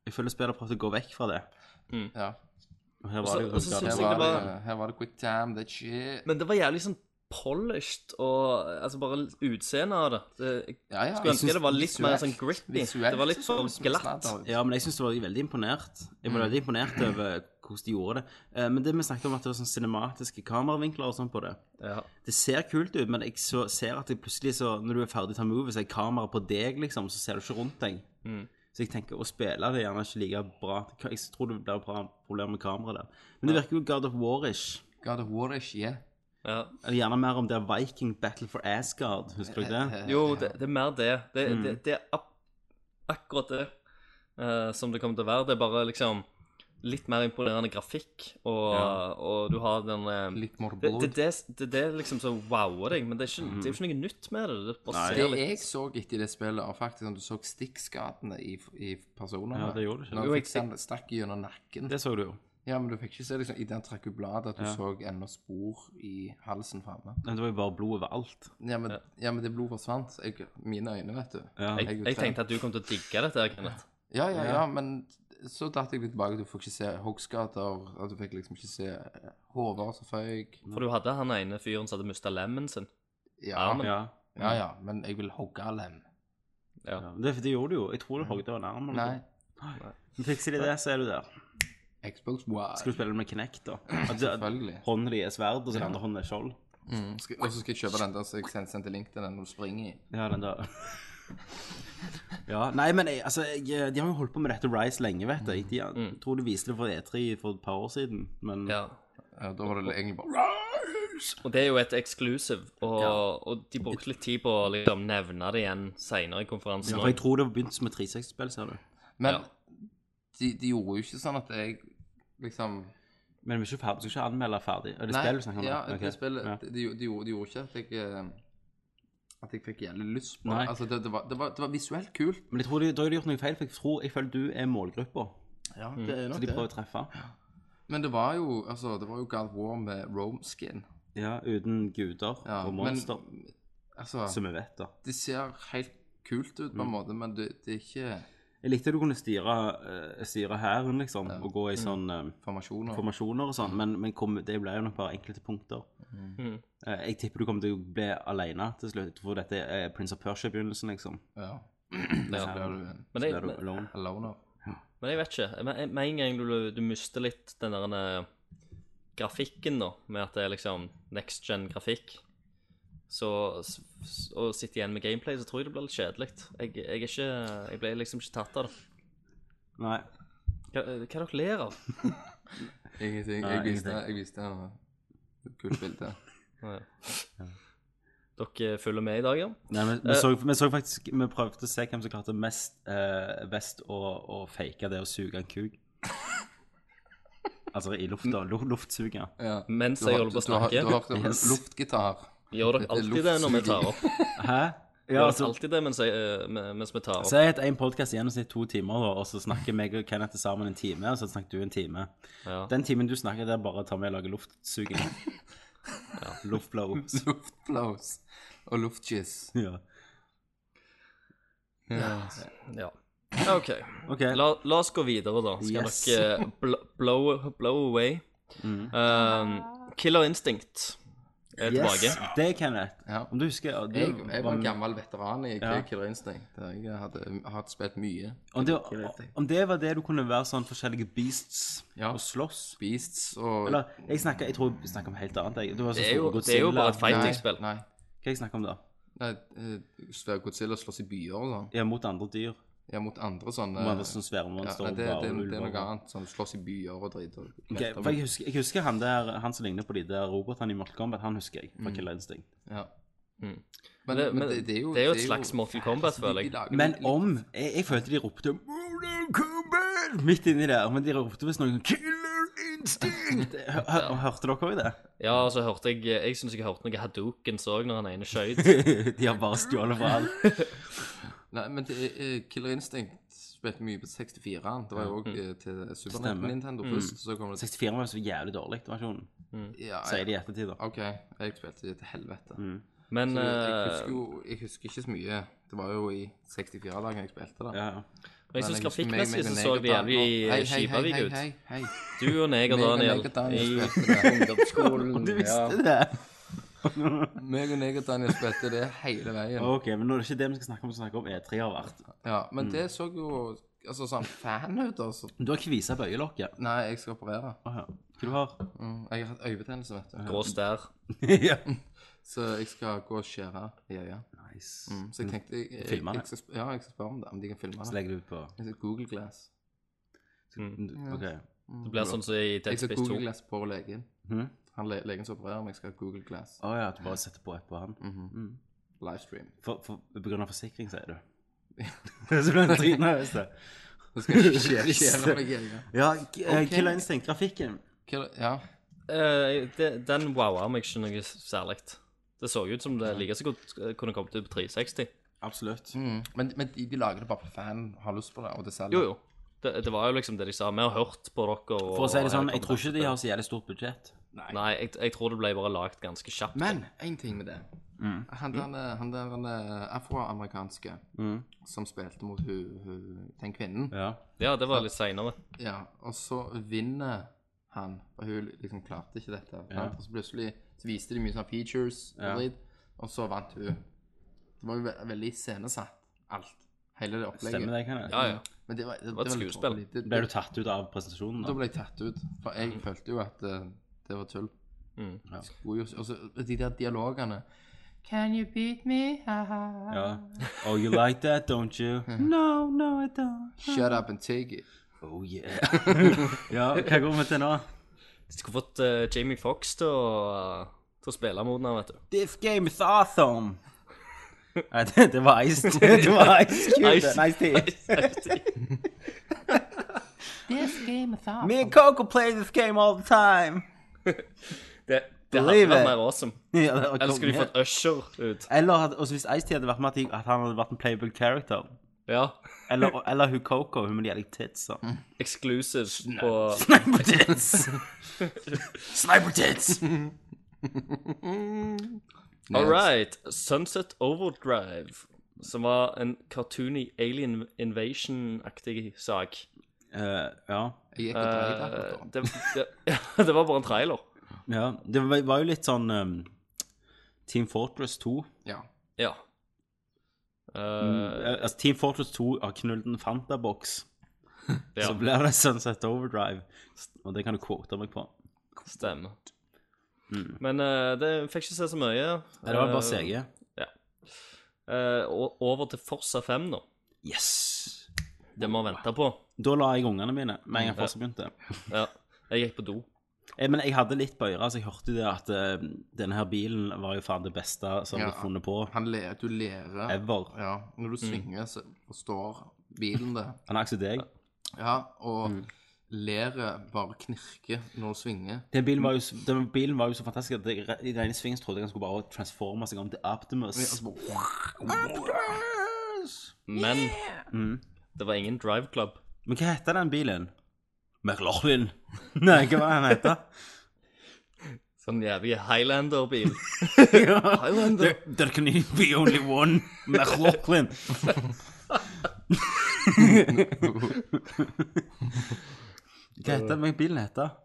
Speaker 5: Jeg føler spillet har prøvd å gå vekk fra det.
Speaker 7: Ja.
Speaker 5: Og her var det jo
Speaker 6: Og så- og
Speaker 5: sånn
Speaker 6: så
Speaker 7: Her
Speaker 6: synes jeg
Speaker 7: var,
Speaker 6: det var-
Speaker 7: det, her var det quick time, that shit.
Speaker 6: Men det var jævlig sånn polished, og altså bare utseendet av det. det jeg
Speaker 7: Ja, ja.
Speaker 6: skulle ønske det var litt mer
Speaker 7: visuelt-
Speaker 6: sånn gritty.
Speaker 7: visuelt
Speaker 6: det var litt
Speaker 7: så
Speaker 6: for
Speaker 7: det som en
Speaker 6: glatt.
Speaker 7: sladder.
Speaker 5: Ja, men jeg syns du var veldig imponert. Jeg var veldig imponert over hvordan de gjorde det. Eh, Men det vi snakket om, at det var sånn cinematiske kameravinkler og sånn på det.
Speaker 6: Ja.
Speaker 5: Det ser kult ut, men jeg så, ser at jeg plutselig så, når du er ferdig til movie, så er kameraet på deg, liksom, så ser du ikke rundt deg. Så jeg tenker, å spille det er gjerne ikke like bra. Jeg tror det blir bra problem med kameraet der. Men det virker jo God of War-ish.
Speaker 7: God of War er ikke
Speaker 6: Ja.
Speaker 5: Eller gjerne mer om det er Viking Battle for Asgard, husker du
Speaker 7: Eh,
Speaker 5: det?
Speaker 6: Jo, det, det er mer det. Det,
Speaker 5: Mm.
Speaker 6: det, det er ak akkurat det eh, som det kommer til å være. Det er bare liksom litt mer imponerende grafikk, og, og du har den eh,
Speaker 7: Litt more
Speaker 6: det,
Speaker 7: blood.
Speaker 6: det, det, det, det er liksom som wower deg, men det er, ikke,
Speaker 5: Mhm.
Speaker 6: det er jo ikke noe nytt med det. Det bare ser
Speaker 7: Det
Speaker 6: litt
Speaker 7: jeg så etter det spillet, var faktisk at du så stikkskadene i, i personene.
Speaker 5: Ja, det gjorde du ikke.
Speaker 7: Når
Speaker 6: Jo,
Speaker 7: du
Speaker 6: jeg-
Speaker 7: fikk den stakk gjennom nakken.
Speaker 5: Det så du jo.
Speaker 7: Ja, men du fikk ikke se liksom, i den trakk jo bladet at du så ennå spor i halsen framme.
Speaker 5: Men Det var jo bare blod overalt.
Speaker 7: Ja, men, ja, men det blodet forsvant. Jeg, mine øyne, vet du.
Speaker 5: Ja.
Speaker 6: jeg, jeg tenkte at du kom til å digge dette, her, Kenneth.
Speaker 7: Ja, ja, ja, men så datt jeg litt tilbake. Du får ikke se hoggskader. og Du fikk liksom ikke se eh, hoder som føyk.
Speaker 6: For du hadde han ene fyren som hadde mista lemmen sin.
Speaker 7: Ja,
Speaker 6: Armen.
Speaker 5: Ja.
Speaker 7: ja, ja, men jeg vil hogge lem.
Speaker 6: Ja.
Speaker 5: Ja, Det, det gjorde du jo. Jeg tror du hogde av en arm. eller
Speaker 7: Nei.
Speaker 5: noe. Men Fikser de det, så er du der.
Speaker 7: Xbox
Speaker 5: Skal
Speaker 7: Wide.
Speaker 5: du spille det med Kinect, da? At det- at
Speaker 7: Selvfølgelig.
Speaker 5: Hånden din er sverd, og så den andre hånden er skjold.
Speaker 7: Mm. skal- Og så skal jeg kjøpe den der som jeg send- sendte link til den når du springer i.
Speaker 5: Ja, den der. Ja, nei, men jeg, altså, jeg, de har jo holdt på med dette Rise lenge, vet jeg. De, jeg tror de viste det for E3 for et par år siden, men
Speaker 6: Ja.
Speaker 7: Mm. Ja, Eh, da var det egentlig bare
Speaker 6: Og det er jo et exclusive, og, og de brukte litt tid på å liksom nevne det igjen seinere i konferansen.
Speaker 5: Ja, for jeg tror det var begynt som et 360-spill, ser du.
Speaker 7: Men
Speaker 6: Ja.
Speaker 7: de, de gjorde jo ikke sånn at jeg liksom
Speaker 5: Men vi er ikke ferdig, vi skal ikke anmelde ferdig. Er det
Speaker 7: Nei,
Speaker 5: spill du snakker om?
Speaker 7: Ja,
Speaker 5: da? Ok.
Speaker 7: det spillet,
Speaker 5: Ja.
Speaker 7: de, de, gjorde- de gjorde ikke at jeg eh, At jeg fikk jævlig lyst på
Speaker 5: Nei.
Speaker 7: det. Altså, det, det, var, det, var, det var visuelt kult.
Speaker 5: Men jeg tror de, da har de gjort noe feil, for jeg tror, jeg føler du er målgruppa,
Speaker 7: Ja, Mm. det er
Speaker 5: Mm. så de prøver å treffe.
Speaker 7: Men det var jo altså, det var jo God of War med Rome-skin.
Speaker 5: Ja, uten guder
Speaker 7: Ja,
Speaker 5: og monster,
Speaker 7: Men, altså,
Speaker 5: som Mm. vi vet da.
Speaker 7: det ser helt kult ut på en måte, men det, det er ikke
Speaker 5: Jeg likte du kunne styre, eh, styre hæren, liksom, og gå
Speaker 7: Mm.
Speaker 5: i sånn eh,
Speaker 7: formasjoner.
Speaker 5: formasjoner og sånn, men, men kom, det ble jo nok bare enkelte punkter.
Speaker 6: Mm.
Speaker 5: Eh, Jeg tipper du kommer til å bli alene til slutt, for dette er Prince of Persia-begynnelsen, liksom.
Speaker 7: ja.
Speaker 6: Ja.
Speaker 7: Så blir du en
Speaker 6: Men,
Speaker 5: Er du
Speaker 6: jeg,
Speaker 5: alone?
Speaker 7: aloner.
Speaker 6: men jeg vet ikke. Med med en gang du, du mister litt den der eh, grafikken, da, med at det er liksom next gen-grafikk, så, s- s- og sitter igjen med gameplay, så tror jeg det blir litt kjedelig. Jeg, jeg, er ikke, jeg ble liksom ikke tatt av det.
Speaker 5: Nei.
Speaker 6: Hva, eh, hva dere ler av?
Speaker 7: Ingenting.
Speaker 5: Nei,
Speaker 7: Jeg viste,
Speaker 5: ingenting.
Speaker 7: jeg viste henne et kult bilde.
Speaker 6: Dere følger med i dag, ja?
Speaker 5: Nei, men vi, så, vi så faktisk Vi prøvde å se hvem som klarte mest eh, best å, å fake det å suge en kuk. Altså i lufta. lu- Luftsuge.
Speaker 7: Ja.
Speaker 6: Mens
Speaker 7: Du har-
Speaker 6: jeg holder på å
Speaker 7: Du har,
Speaker 6: snakke.
Speaker 7: du har hørt om
Speaker 5: Yes.
Speaker 7: luftgitar.
Speaker 6: Gjør dere
Speaker 7: Dette er
Speaker 6: alltid det når vi tar opp?
Speaker 5: Hæ?
Speaker 6: Vi gjør
Speaker 5: altså-
Speaker 6: alltid det mens, jeg, eh, men- mens vi tar opp.
Speaker 5: Så jeg het en podcast i gjennomsnitt to timer, da, og så snakker meg og Kenneth til sammen en time, og så snakker du en time.
Speaker 6: Ja.
Speaker 5: Den timen du snakker, det er bare å ta med og lage luftsuging. Luftblow.
Speaker 7: Luftblows og luftchiss.
Speaker 5: Ja.
Speaker 6: Ja. OK.
Speaker 5: OK.
Speaker 6: La, la oss gå videre, da. Skal
Speaker 5: Yes.
Speaker 6: dere eh, bl blow, blow away.
Speaker 7: Mm.
Speaker 6: Um, Killer Instinct er tilbake.
Speaker 5: Yes, det er Kenneth.
Speaker 7: Ja.
Speaker 5: Om du husker og du
Speaker 7: Jeg, jeg var
Speaker 5: var-
Speaker 7: en gammel veteran i
Speaker 5: Ja.
Speaker 7: Killer Instinct. der Jeg hadde, hadde spilt mye.
Speaker 5: om det, om det var det du kunne være sånn forskjellige beasts
Speaker 7: Ja.
Speaker 5: og slåss
Speaker 7: Beasts og
Speaker 5: Eller jeg snakker, jeg tror vi snakker om helt annet. Jeg. Du var så
Speaker 6: Det er jo-
Speaker 5: stor
Speaker 6: det er jo bare et
Speaker 5: Godzilla.
Speaker 6: fight.
Speaker 7: Nei,
Speaker 6: fighting-spill.
Speaker 7: Nei.
Speaker 5: Hva jeg snakker om da?
Speaker 7: nei eh, Svær Godzilla slåss i byer og sånn.
Speaker 5: Ja, mot andre dyr.
Speaker 7: Ja, mot andre sånne
Speaker 5: Mot andre sånne svære
Speaker 7: ja,
Speaker 5: monstre.
Speaker 7: nei, det, det,
Speaker 5: og bare
Speaker 7: det er noe
Speaker 5: ulver.
Speaker 7: annet. Sånn slåss i byer og drit. Og
Speaker 5: Ok, for jeg husker, jeg husker han der, han som ligner på de der robotene i Mortal Kombat, han husker jeg fra Killer Instinct.
Speaker 7: Ja.
Speaker 6: Mm.
Speaker 7: Men, men
Speaker 6: det- men
Speaker 7: det, det, er jo,
Speaker 6: det er jo et slags Mortal Kombat,
Speaker 7: altså, de-
Speaker 6: føler
Speaker 7: de
Speaker 6: jeg.
Speaker 7: lager
Speaker 5: Men
Speaker 7: litt-
Speaker 5: om Jeg, jeg følte de ropte Mortal Kombat midt inni der, men de ropte visst noe sånn Killer Instinct! Hør- hør- Hørte dere òg det?
Speaker 6: Ja, og så hørte jeg Jeg syns jeg hørte noe Hadoukens òg, når han ene skøyt.
Speaker 5: De har bare stjålet fra alt.
Speaker 7: Nei, men det, er- eh, Killer Instinct spilte mye på 64-en. Det var jo òg til Super
Speaker 5: Stemmer.
Speaker 7: Nintendo først. Så kom det
Speaker 5: 64 var jo så jævlig dårlig, versjonen,
Speaker 7: ja,
Speaker 5: sier de i ettertid, da.
Speaker 7: OK, jeg spilte det til helvete.
Speaker 6: Men
Speaker 7: Så jeg, jeg,
Speaker 6: eh,
Speaker 7: husker jo, jeg husker ikke så mye. Det var jo i 64-lagen jeg spilte, da.
Speaker 5: Ja, ja.
Speaker 6: Men jeg
Speaker 7: Men
Speaker 6: syns
Speaker 7: husker meg-
Speaker 6: grafikkmessig
Speaker 7: meg
Speaker 6: så
Speaker 7: og
Speaker 6: så det
Speaker 7: Neger Daniel- Hei, hei,
Speaker 6: jævlig
Speaker 7: hei,
Speaker 6: skivavig ut.
Speaker 7: Hei, hei,
Speaker 6: Du og Neger
Speaker 7: Meg og
Speaker 6: Daniel
Speaker 7: Neger Daniel
Speaker 6: i
Speaker 7: spilte det.
Speaker 5: Og du visste det?
Speaker 7: Meg og Neger Daniel spilte det hele veien.
Speaker 5: OK, men nå er det ikke det vi skal snakke om, vi skal snakke om E3 har vært.
Speaker 7: Ja,
Speaker 6: Mm.
Speaker 7: men det så jo altså, sånn fan ut, altså.
Speaker 5: Du har kvisa på øyelokket.
Speaker 7: Nei, jeg skal operere.
Speaker 5: Åh, ja. Hva du har
Speaker 7: Mm, Jeg har hatt øyebetennelse, vet du.
Speaker 6: grå stær.
Speaker 5: ja.
Speaker 7: Så jeg skal gå og skjære i øyet.
Speaker 5: Nice.
Speaker 7: Mm, Så jeg tenkte jeg, jeg,
Speaker 5: Filmer det?
Speaker 7: jeg, skal, sp- Ja, jeg skal spørre om det. Om de kan filme
Speaker 5: Så
Speaker 7: det.
Speaker 5: legger du på
Speaker 7: Jeg skal Google Glass. Mm.
Speaker 5: OK.
Speaker 6: Det blir sånn som i Dead
Speaker 7: Jeg skal
Speaker 6: Space
Speaker 7: Google
Speaker 6: 2.
Speaker 7: Glass på legen.
Speaker 5: Mhm.
Speaker 7: Han le, legen som opererer meg, skal ha Google Glass
Speaker 5: Å ja, at du bare setter på et på han.
Speaker 7: Mm. livestream.
Speaker 5: For, for, på grunn av forsikring, sier du. så ble han dritnervøs. da.
Speaker 7: Så skal jeg skjære, skjære meg i øyet.
Speaker 5: Ja, k- eh,
Speaker 7: Ok.
Speaker 5: Killer Instinct, grafikken.
Speaker 7: Hva- Ja.
Speaker 6: Eh, det- Den wowa meg ikke noe særlig. Det så ut som det like så godt kunne kommet ut på 360.
Speaker 5: Absolutt.
Speaker 7: Mm. Men, men de, de lager det bare for fan har lyst på det, og det selger.
Speaker 6: Jo, jo. Det, det var jo liksom det de sa. Vi har hørt på dere. Og,
Speaker 5: For å si det sånn,
Speaker 6: og her
Speaker 5: jeg
Speaker 6: kommer
Speaker 5: tror ikke de har så jævlig stort budsjett.
Speaker 6: Nei, jeg, jeg tror det ble bare lagt ganske kjapt.
Speaker 7: Men én ting med det. Han der, han der han der afroamerikanske som spilte mot hu, hu, den kvinnen
Speaker 5: Ja.
Speaker 6: Ja, det var litt seinere.
Speaker 7: Ja, og så vinner han, og hun liksom klarte ikke dette. sant? Og så plutselig så viste de mye sånne features, og,
Speaker 5: Ja.
Speaker 7: dritt, og så vant hun. Det var jo ve veldig scenesatt, alt. Hele det opplegget.
Speaker 5: Stemmer det, kan jeg?
Speaker 6: Ja, ja.
Speaker 7: Men det var, det,
Speaker 6: var et
Speaker 7: det litt
Speaker 6: skuespill.
Speaker 7: dårlig. Det-
Speaker 5: Ble du tatt ut av presentasjonen,
Speaker 7: Da
Speaker 5: da?
Speaker 7: ble jeg tatt ut, for jeg følte jo at eh, det var tull.
Speaker 6: Mm.
Speaker 5: Ja.
Speaker 7: Skulle jo- Og så de der dialogene Can you beat me? Haha.
Speaker 5: Ja. Oh, you like that, don't you? No, no, I don't.
Speaker 7: Shut up and take it.
Speaker 5: Oh yeah. ja, hva går vi til nå?
Speaker 6: De skulle fått eh, Jamie Fox til å, til å spille mot den, vet du.
Speaker 5: This game is awesome. Nei, det, det var Ice Det var Ice Cube.
Speaker 6: Ice-
Speaker 5: Nice tea.
Speaker 4: This game is awesome.
Speaker 5: Me and Coco play this game all the time.
Speaker 6: Det, det hadde
Speaker 5: Believe
Speaker 6: vært
Speaker 5: it.
Speaker 6: mer awesome.
Speaker 5: Ja, det var
Speaker 6: Eller skulle de
Speaker 5: konge.
Speaker 6: fått Usher ut?
Speaker 5: Eller at, også hvis Ice-T hadde vært med, at de- at han hadde vært en playable character.
Speaker 6: Ja.
Speaker 5: Eller, eller hun Coco, hun med de jævlig tits. da.
Speaker 6: Exclusive på
Speaker 5: Mm. Sniper tits! Sniper tits!
Speaker 6: All right. Sunset Overdrive. Som var en cartoony alien invasion-aktig sak.
Speaker 5: Eh, ja.
Speaker 7: Jeg gikk og dreit
Speaker 6: Eh,
Speaker 7: akkurat da.
Speaker 6: det, det, det var bare en trailer.
Speaker 5: ja. Det var- var jo litt sånn um, Team Fortress 2.
Speaker 7: Ja.
Speaker 6: Ja. Eh,
Speaker 5: Eh, altså, Team Fortress 2 har knullet en Fanta-boks.
Speaker 6: Ja.
Speaker 5: Så blir det Sunset Overdrive. Og det kan du quote meg på.
Speaker 6: Stemmer. Men eh, det fikk ikke se så mye.
Speaker 5: Mm. Nei, Det var bare
Speaker 6: Eh,
Speaker 5: CG.
Speaker 6: eh, o- over til Forsa 5 nå.
Speaker 5: Yes!
Speaker 6: Det må vi vente på.
Speaker 5: Da la jeg ungene mine med en gang først begynte.
Speaker 6: Ja. Jeg gikk på do.
Speaker 5: Eh, Men jeg hadde litt på øret, så jeg hørte det at eh, denne her bilen var jo faen det beste som
Speaker 7: Ja.
Speaker 5: ble funnet på
Speaker 7: Han ler, du lærer.
Speaker 5: ever.
Speaker 7: Ja.
Speaker 6: Mm.
Speaker 7: Når du synger, så forstår bilen det.
Speaker 5: Han er ikke deg.
Speaker 6: Mm.
Speaker 7: Ja, og leret bare knirker når hun svinger.
Speaker 5: Den bilen var jo, s- den bilen var jo så fantastisk at jeg, re- i den ene svingen så trodde jeg han skulle bare transforme seg om til Optimus.
Speaker 7: Altså bare,
Speaker 6: Men
Speaker 5: Mm.
Speaker 6: det var ingen drive club.
Speaker 5: Men hva heter den bilen? McLaughlin. Nei, hva var den heter?
Speaker 6: Sånn jævlig Highlander-bil.
Speaker 5: There, there can be only one McLaughlin. Hva heter den bilen heter?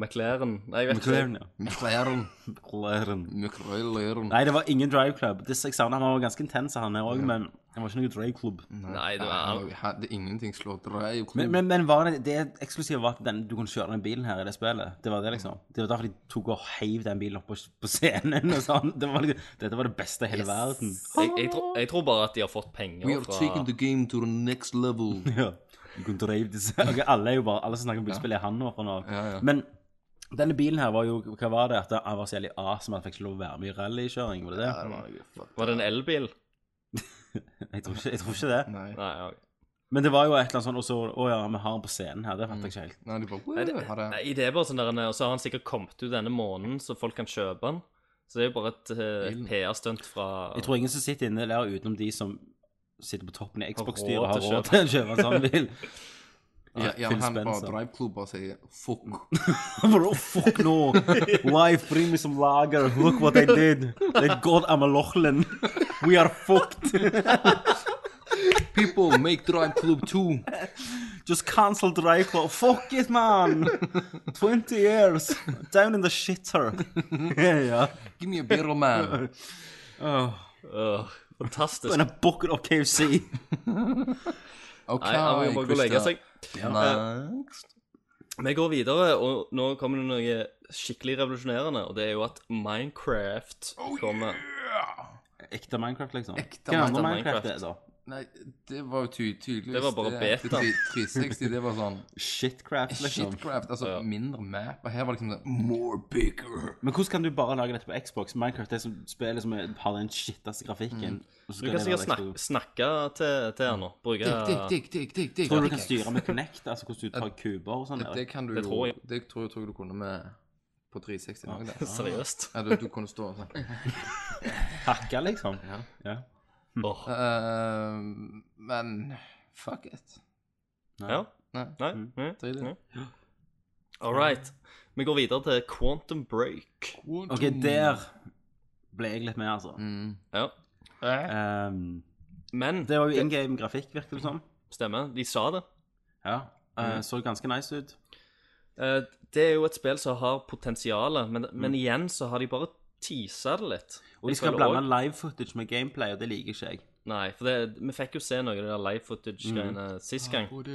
Speaker 6: McLaren. Nei, jeg vet
Speaker 5: McLaren, ja.
Speaker 7: McLaren,
Speaker 5: McLaren.
Speaker 7: McLaren.
Speaker 5: Nei, det var ingen drive club. Det jeg savner, Han var ganske intens, han her òg, men han var ikke noe drive club.
Speaker 6: ikke. Nei, det var
Speaker 7: Jeg hadde ingenting slått deg.
Speaker 5: Men, men, men var det, det eksklusive var at den, du kunne kjøre den bilen her i det spillet. Det var det liksom. Det var derfor de tok og heiv den bilen opp på, på scenen og sånn. Det var, liksom- dette var det beste i hele verden.
Speaker 6: jeg, jeg, tror, jeg tror bare at de har fått
Speaker 7: We
Speaker 6: penger
Speaker 7: are
Speaker 6: fra
Speaker 7: taking the game to the next level.
Speaker 5: Ja. Du kunne drive disse Ok, Alle er jo bare Alle som snakker om bilspill, er han nå fra nå av. Men denne bilen her var jo Hva var det? At han var så jævlig awesome at han fikk ikke lov å være med i rallykjøring? Var det det?
Speaker 6: Var det en elbil?
Speaker 5: Jeg tror ikke, jeg tror ikke det.
Speaker 7: Nei,
Speaker 6: Nei, ok.
Speaker 5: Men det var jo et eller annet sånn Og så Å ja, vi har han på scenen her. Det fant jeg ikke helt.
Speaker 7: Nei, de bare
Speaker 6: Nei, det,
Speaker 7: "Woo, ha det.
Speaker 6: nei, det er bare sånn der, og så har han sikkert kommet ut denne måneden, så folk kan kjøpe den. Så det er jo bare et, eh, et PR-stunt fra
Speaker 5: Jeg tror ingen som sitter inne der utenom de som sitter på toppen i Xbox-styret,
Speaker 6: råd
Speaker 5: har
Speaker 6: til å
Speaker 5: råd til å kjøpe en sånn bil.
Speaker 7: Ja, ja,
Speaker 5: Phil
Speaker 7: han bare
Speaker 5: Spencer.
Speaker 7: driveklubber sier fuck.
Speaker 6: Mm.
Speaker 5: Bro, fuck no. Wife, bring me some lager. Look what I did. Thank God I'm a Lochlin. We are fucked.
Speaker 7: People make drive club too.
Speaker 5: Just cancel Drive Club. Fuck it, man. 20 years. Down in the shitter. yeah, yeah.
Speaker 7: Give me a better man.
Speaker 6: Øh, Fantastisk.
Speaker 5: And a bucket of KFC.
Speaker 7: Ok,
Speaker 6: Nei, han må jo bare gå og legge
Speaker 7: Christer.
Speaker 6: seg. eh,
Speaker 7: Next.
Speaker 6: Vi går videre, og nå kommer det noe skikkelig revolusjonerende, og det er jo at Minecraft kommer.
Speaker 5: Ekte Minecraft, liksom.
Speaker 7: Ekte
Speaker 5: Hva andre
Speaker 6: Minecraft.
Speaker 5: Minecraft er det, da?
Speaker 7: Nei, det var jo ty tydeligvis
Speaker 6: Det var bare
Speaker 7: det-
Speaker 6: beta.
Speaker 7: det- 360, det var sånn
Speaker 5: Shitcraft, liksom.
Speaker 7: Shitcraft, altså mindre map. Og her var liksom det More bigger.
Speaker 5: Men hvordan kan du bare lage dette på Xbox? Minecraft er som spillet som er- har den shitteste grafikken. og så
Speaker 6: Mm. Du
Speaker 5: skal
Speaker 6: kan
Speaker 5: det være
Speaker 6: sikkert snakke,
Speaker 5: Xbox.
Speaker 6: snakke til, til han nå. Bruke
Speaker 7: Digg, digg, digg, digg, digg.
Speaker 5: Tror du du kan styre med Connect, altså hvordan du tar kuber og sånn?
Speaker 7: Det kan du
Speaker 6: Det tror
Speaker 7: jo
Speaker 6: jeg.
Speaker 7: Det tror jeg tror jeg du kunne med på 360 nå. det.
Speaker 6: Seriøst.
Speaker 7: Ja, du, du kunne stå sånn.
Speaker 5: Hacke, liksom? Ja.
Speaker 6: Åh,
Speaker 7: Ehm, men fuck it.
Speaker 6: Ja?
Speaker 7: Nei.
Speaker 6: Nei? Mm.
Speaker 7: Drit i det.
Speaker 6: All right. Vi går videre til Quantum Break.
Speaker 5: Ok, der ble jeg litt med, altså.
Speaker 6: Ja.
Speaker 5: Ehm,
Speaker 6: Men
Speaker 5: det var jo in game grafikk, virker det som.
Speaker 6: stemmer, de sa det.
Speaker 5: Ja. Eh, Så ganske nice ut.
Speaker 6: Eh, Det er jo et spill som har potensial, men,
Speaker 7: Mm.
Speaker 6: men igjen så har de bare teasa det litt.
Speaker 5: Og de
Speaker 6: Jeg
Speaker 5: skal
Speaker 6: føler
Speaker 5: blande
Speaker 6: også-
Speaker 5: live footage med gameplay, og det liker ikke jeg.
Speaker 6: Nei, for det, vi fikk jo se noe av det der live footage-greiene sist
Speaker 7: Ah,
Speaker 6: gang. Men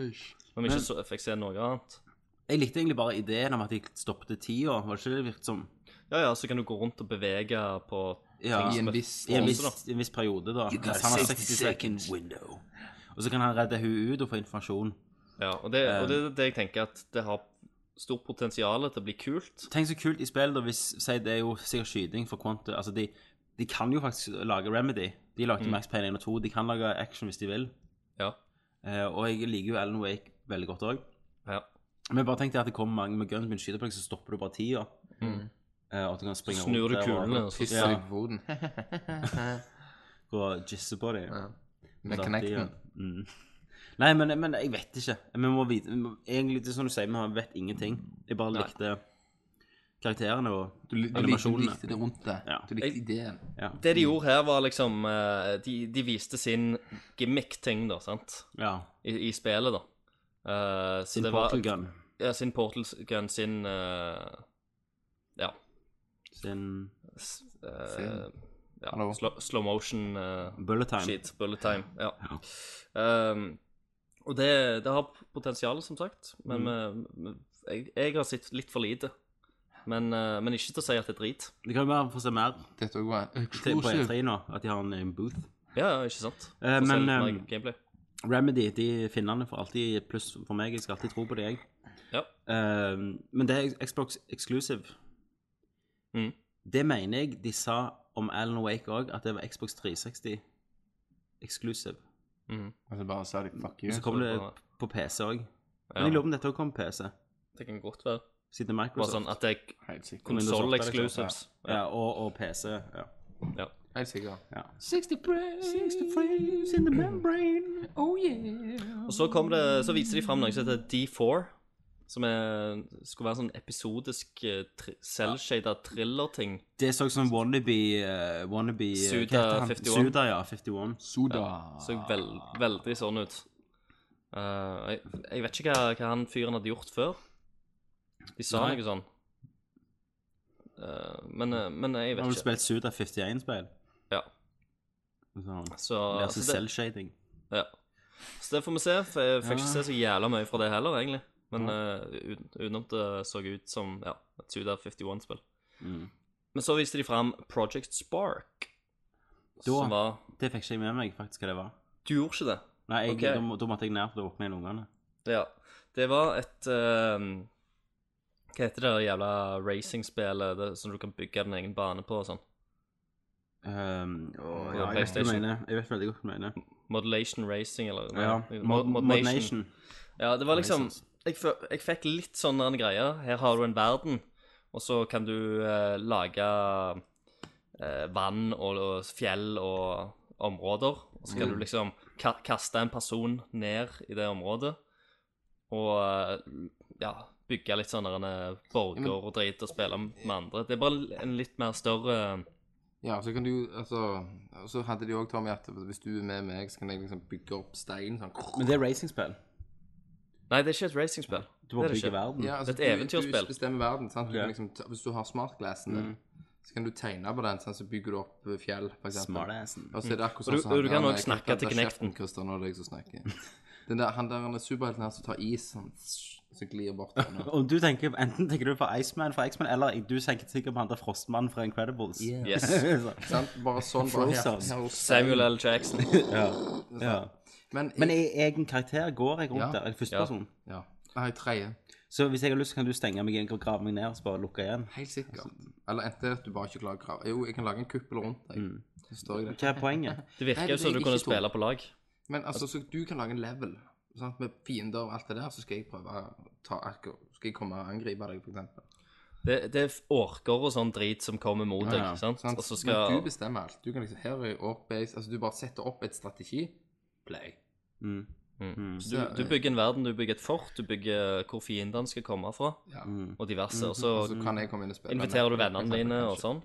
Speaker 6: vi ikke så, fikk se noe annet.
Speaker 5: Jeg likte egentlig bare ideen om at de stoppet tida, var det ikke det virket som?
Speaker 6: Ja ja, så kan du gå rundt og bevege på
Speaker 5: Ja,
Speaker 7: I
Speaker 5: i
Speaker 7: en viss
Speaker 5: en
Speaker 6: Også
Speaker 5: viss, i en viss periode, da. Altså, han har 60 second window. Og så kan han redde hun ut og få informasjon.
Speaker 6: Ja, og det, og det er det jeg tenker at det har stort potensial til å bli kult.
Speaker 5: Tenk så kult i spillet, da, hvis si det er jo sikkert skyting for Quantum Altså, de, de kan jo faktisk lage Remedy. De
Speaker 6: Mm.
Speaker 5: lagde Max Payne 1 og 2. De kan lage action hvis de vil.
Speaker 6: Ja.
Speaker 5: Eh, og jeg liker jo Alan Wake veldig godt òg.
Speaker 6: ja.
Speaker 5: Men bare tenk deg at det kommer mange med guns, men skyter på deg, så stopper du bare tida. Eh, og at du kan springe
Speaker 6: Mm. Snur du
Speaker 5: rundt der og-
Speaker 6: kulene, og så
Speaker 7: Pisser deg på hoden.
Speaker 5: og jisse på dem.
Speaker 6: Sånn,
Speaker 7: Med
Speaker 5: Satt i, ja.
Speaker 7: connecten.
Speaker 5: Mm. Nei, men, men jeg vet ikke. Vi må vite vi må, Egentlig, det er som du sier, vi har- vet ingenting. Jeg bare likte karakterene og
Speaker 7: Du, li- du, likte, du
Speaker 5: animasjonene.
Speaker 7: likte det rundt det.
Speaker 5: Ja.
Speaker 7: Du likte ideen.
Speaker 5: Ja.
Speaker 6: Det de gjorde her, var liksom eh, De, de viste sin gimmick-ting, da, sant,
Speaker 5: ja.
Speaker 6: i, i spillet, da. Eh, så
Speaker 5: Sin
Speaker 6: det var-
Speaker 5: portal gun.
Speaker 6: Ja, sin portal gun, sin eh, Ja.
Speaker 5: Sin
Speaker 6: s- eh,
Speaker 7: Sin.
Speaker 6: ja
Speaker 7: Hallo.
Speaker 6: slow, slow motion eh,
Speaker 5: bullet time.
Speaker 6: shit. Bullet time. Ja. Ehm, og det, det har potensial, som sagt. Men eh, jeg, jeg har sett litt for lite. Men, eh, men ikke til å si at det er drit.
Speaker 5: Det kan jo være få se mer
Speaker 7: Dette òg var
Speaker 5: til, på
Speaker 6: E
Speaker 7: eksklusivt.
Speaker 5: E3 nå, at de har en, en booth.
Speaker 6: Ja, ja, ikke sant?
Speaker 5: Eh,
Speaker 6: Få se
Speaker 5: men,
Speaker 6: litt mer
Speaker 5: ehm,
Speaker 6: gameplay.
Speaker 5: Remedy, de finnene får alltid pluss for meg. Jeg skal alltid tro på det, jeg.
Speaker 6: Ja.
Speaker 5: Eh, men det er Xbox exclusive.
Speaker 6: Mhm.
Speaker 5: Det mener jeg de sa om Alan Wake òg, at det var Xbox 360 exclusive.
Speaker 7: Og så bare sa de fuck you.
Speaker 5: Så kom det
Speaker 6: bra.
Speaker 5: på PC òg. Men jeg lurer på om dette også kom på PC.
Speaker 6: Det kan godt være.
Speaker 5: Siden
Speaker 6: Bare
Speaker 5: Microsoft.
Speaker 6: sånn at det er
Speaker 7: Helt sikkert.
Speaker 5: Windows åtte,
Speaker 6: console
Speaker 5: liksom.
Speaker 6: exclusives.
Speaker 5: Ja, og, og PC. Ja.
Speaker 6: Ja.
Speaker 7: Helt sikkert.
Speaker 5: ja. 60 frames in the membrane. Oh yeah.
Speaker 6: Og så, kom det, så viser de fram noe som heter D4, som er, skulle være sånn episodisk eh, tri selvshada thriller-ting.
Speaker 5: Det så ut som wannabe, eh, wannabe eh,
Speaker 6: Suda
Speaker 5: hva heter han?
Speaker 6: 51.
Speaker 5: Suda, ja, 51.
Speaker 7: Soda.
Speaker 6: Så vel,
Speaker 5: Ah.
Speaker 6: veldig sånn ut. Eh, jeg, jeg vet ikke hva, hva han fyren hadde gjort før. De sa
Speaker 5: Nei.
Speaker 6: noe sånn. Eh, men, eh, men jeg
Speaker 5: Har du
Speaker 6: vet ikke.
Speaker 5: spilt Suda 51-spill?
Speaker 6: Ja.
Speaker 5: Sånn.
Speaker 6: Så,
Speaker 5: Lærer
Speaker 6: Ah,
Speaker 5: seg
Speaker 6: så, det,
Speaker 5: selvshading.
Speaker 6: ja. så det får vi se. For jeg fikk
Speaker 5: Ja.
Speaker 6: ikke se så jævla mye fra det heller, egentlig. Men eh, uten- utenom det så ut som ja, et Suda 51-spill.
Speaker 5: Mm.
Speaker 6: Men så viste de fram Project Spark. Som var
Speaker 5: Det fikk ikke jeg med meg faktisk hva det var.
Speaker 6: Du gjorde ikke det?
Speaker 5: Nei, jeg,
Speaker 6: Ok.
Speaker 5: da, må- da måtte jeg ned for å åpne igjen ungene. Ehm,
Speaker 6: Ja. Det var et ehm, Hva heter det jævla racingspillet det- som du kan bygge din egen bane på og sånn?
Speaker 5: Um, og, ja, jeg, vet
Speaker 6: På
Speaker 5: hva du
Speaker 6: PlayStation.
Speaker 5: mener. jeg vet veldig godt hva du mener.
Speaker 6: Modulation Racing, eller
Speaker 5: Ja,
Speaker 6: nei,
Speaker 5: Mod, Mod Nation.
Speaker 6: Ja, det var liksom
Speaker 7: altså.
Speaker 5: Races.
Speaker 6: Jeg, fø- jeg fikk litt sånn en greie. Her har du en verden, og så kan du eh, lage eh, vann og, og fjell og områder. Og så kan
Speaker 7: Mm.
Speaker 6: du liksom ka kaste en person ned i det området og eh, ja, bygge litt sånn der en, eh, borger og drit og spille med andre. Det er bare en litt mer større
Speaker 7: Ja, så kan du altså Og så hadde de òg, Tommy, at hvis du er med meg, så kan jeg liksom bygge opp stein sånn
Speaker 5: Men det er racingspill.
Speaker 6: Nei, det er ikke et racingspill.
Speaker 5: Du må
Speaker 6: det er det
Speaker 5: bygge
Speaker 6: ikke.
Speaker 5: verden.
Speaker 7: Ja, altså,
Speaker 6: Det er Mm. et
Speaker 7: du-
Speaker 6: eventyrspill.
Speaker 7: Du bestemmer verden, sant? Du
Speaker 5: Ja.
Speaker 7: kan liksom, ta- hvis du har smartglassen
Speaker 6: Mm.
Speaker 7: din, så kan du tegne på den, sant? så bygger du opp eh, fjell, for eksempel.
Speaker 5: Smartassen.
Speaker 6: Altså-
Speaker 7: Og så er det akkurat
Speaker 6: Og du-
Speaker 7: sånn som
Speaker 6: og du kan
Speaker 7: der-
Speaker 6: også snakke
Speaker 7: jeg kan
Speaker 6: til
Speaker 7: ta
Speaker 6: Kinecten.
Speaker 7: kjeften, Christian, når det er jeg som snakker. Den der, han der han er superhelten her som tar is, sånn, som glir bort. Nå.
Speaker 5: Og du tenker, Enten tenker du på Iceman fra X-Man, eller du tenker sikkert på han der Frostmannen fra Incredibles.
Speaker 6: Yes.
Speaker 5: Så-
Speaker 7: Sant? Bare sånn, bare her.
Speaker 5: Frozen.
Speaker 7: her hos-
Speaker 6: Samuel L. Jackson.
Speaker 5: ja. ja.
Speaker 7: Men,
Speaker 5: Men i egen karakter går jeg rundt
Speaker 7: Ja.
Speaker 5: der, eller første
Speaker 6: Ja.
Speaker 5: person.
Speaker 7: Ja. Nei, tredje.
Speaker 5: Så hvis jeg har lyst, så kan du stenge meg inn og grave meg ned og så bare lukke igjen.
Speaker 7: Helt sikkert. Eller enten at du bare ikke klarer å grave. Jo, jeg kan lage en kuppel rundt deg.
Speaker 5: Mm.
Speaker 7: Så står jeg der.
Speaker 5: Hva er poenget?
Speaker 7: Nei,
Speaker 6: Det virker jo
Speaker 7: det
Speaker 6: som
Speaker 7: er
Speaker 6: du
Speaker 7: ikke
Speaker 6: kunne
Speaker 7: to.
Speaker 6: spille på lag.
Speaker 7: Men altså, så du kan lage en level sant? med fiender og alt det der, så skal jeg prøve å ta akkurat Skal jeg komme og angripe deg, for eksempel.
Speaker 6: Det, det er orker og sånn drit som kommer mot deg,
Speaker 5: Ja, ja,
Speaker 6: sant?
Speaker 7: Sant?
Speaker 6: Og så
Speaker 7: Men
Speaker 6: skal
Speaker 7: du bestemmer alt. Du kan liksom Her er ork base Altså, du bare setter opp et strategi. Play.
Speaker 5: Mm.
Speaker 6: Mm. du, du
Speaker 7: eh,
Speaker 6: bygger en verden, du bygger et fort, du bygger hvor fiendene skal komme fra,
Speaker 7: Ja.
Speaker 5: Mm.
Speaker 6: og diverse. Og
Speaker 7: Mhm. Og så
Speaker 6: så mm,
Speaker 7: kan jeg komme inn og spille.
Speaker 6: inviterer du
Speaker 7: med-
Speaker 6: vennene dine og
Speaker 7: kanskje.
Speaker 6: sånn.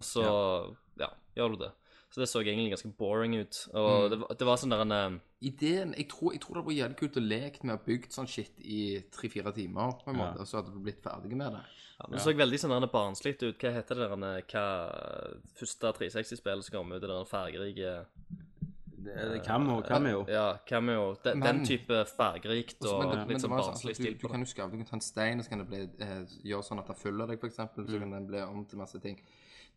Speaker 6: Og så ja, gjør du det. Så det så egentlig ganske boring ut. Og
Speaker 7: Mhm.
Speaker 6: det, var- det var sånn der en eh,
Speaker 7: Ideen Jeg tror, jeg tror det hadde vært jævlig kult å leke med å bygge sånn shit i tre-fire timer, på en måte, og så hadde du blitt ferdig med det.
Speaker 6: ja, Det så veldig sånn der en barnslig ut. Hva heter det der en eh, Hva første 360-spillet som kom ut, det der en fargerike
Speaker 5: Cameo, cameo.
Speaker 6: Ja, cameo. De,
Speaker 7: Men-
Speaker 6: den type fargerikt
Speaker 7: Så-
Speaker 6: og
Speaker 7: det-
Speaker 6: litt
Speaker 7: det
Speaker 6: sånn
Speaker 7: var jo
Speaker 6: barnslig
Speaker 7: altså, du,
Speaker 6: stil
Speaker 7: du
Speaker 6: på det.
Speaker 7: kan jo skaffe, du kan ta en stein, og så kan det bli, eh, gjøre sånn at det følger deg, for eksempel,
Speaker 5: Mm.
Speaker 7: så kan den bli om til masse ting.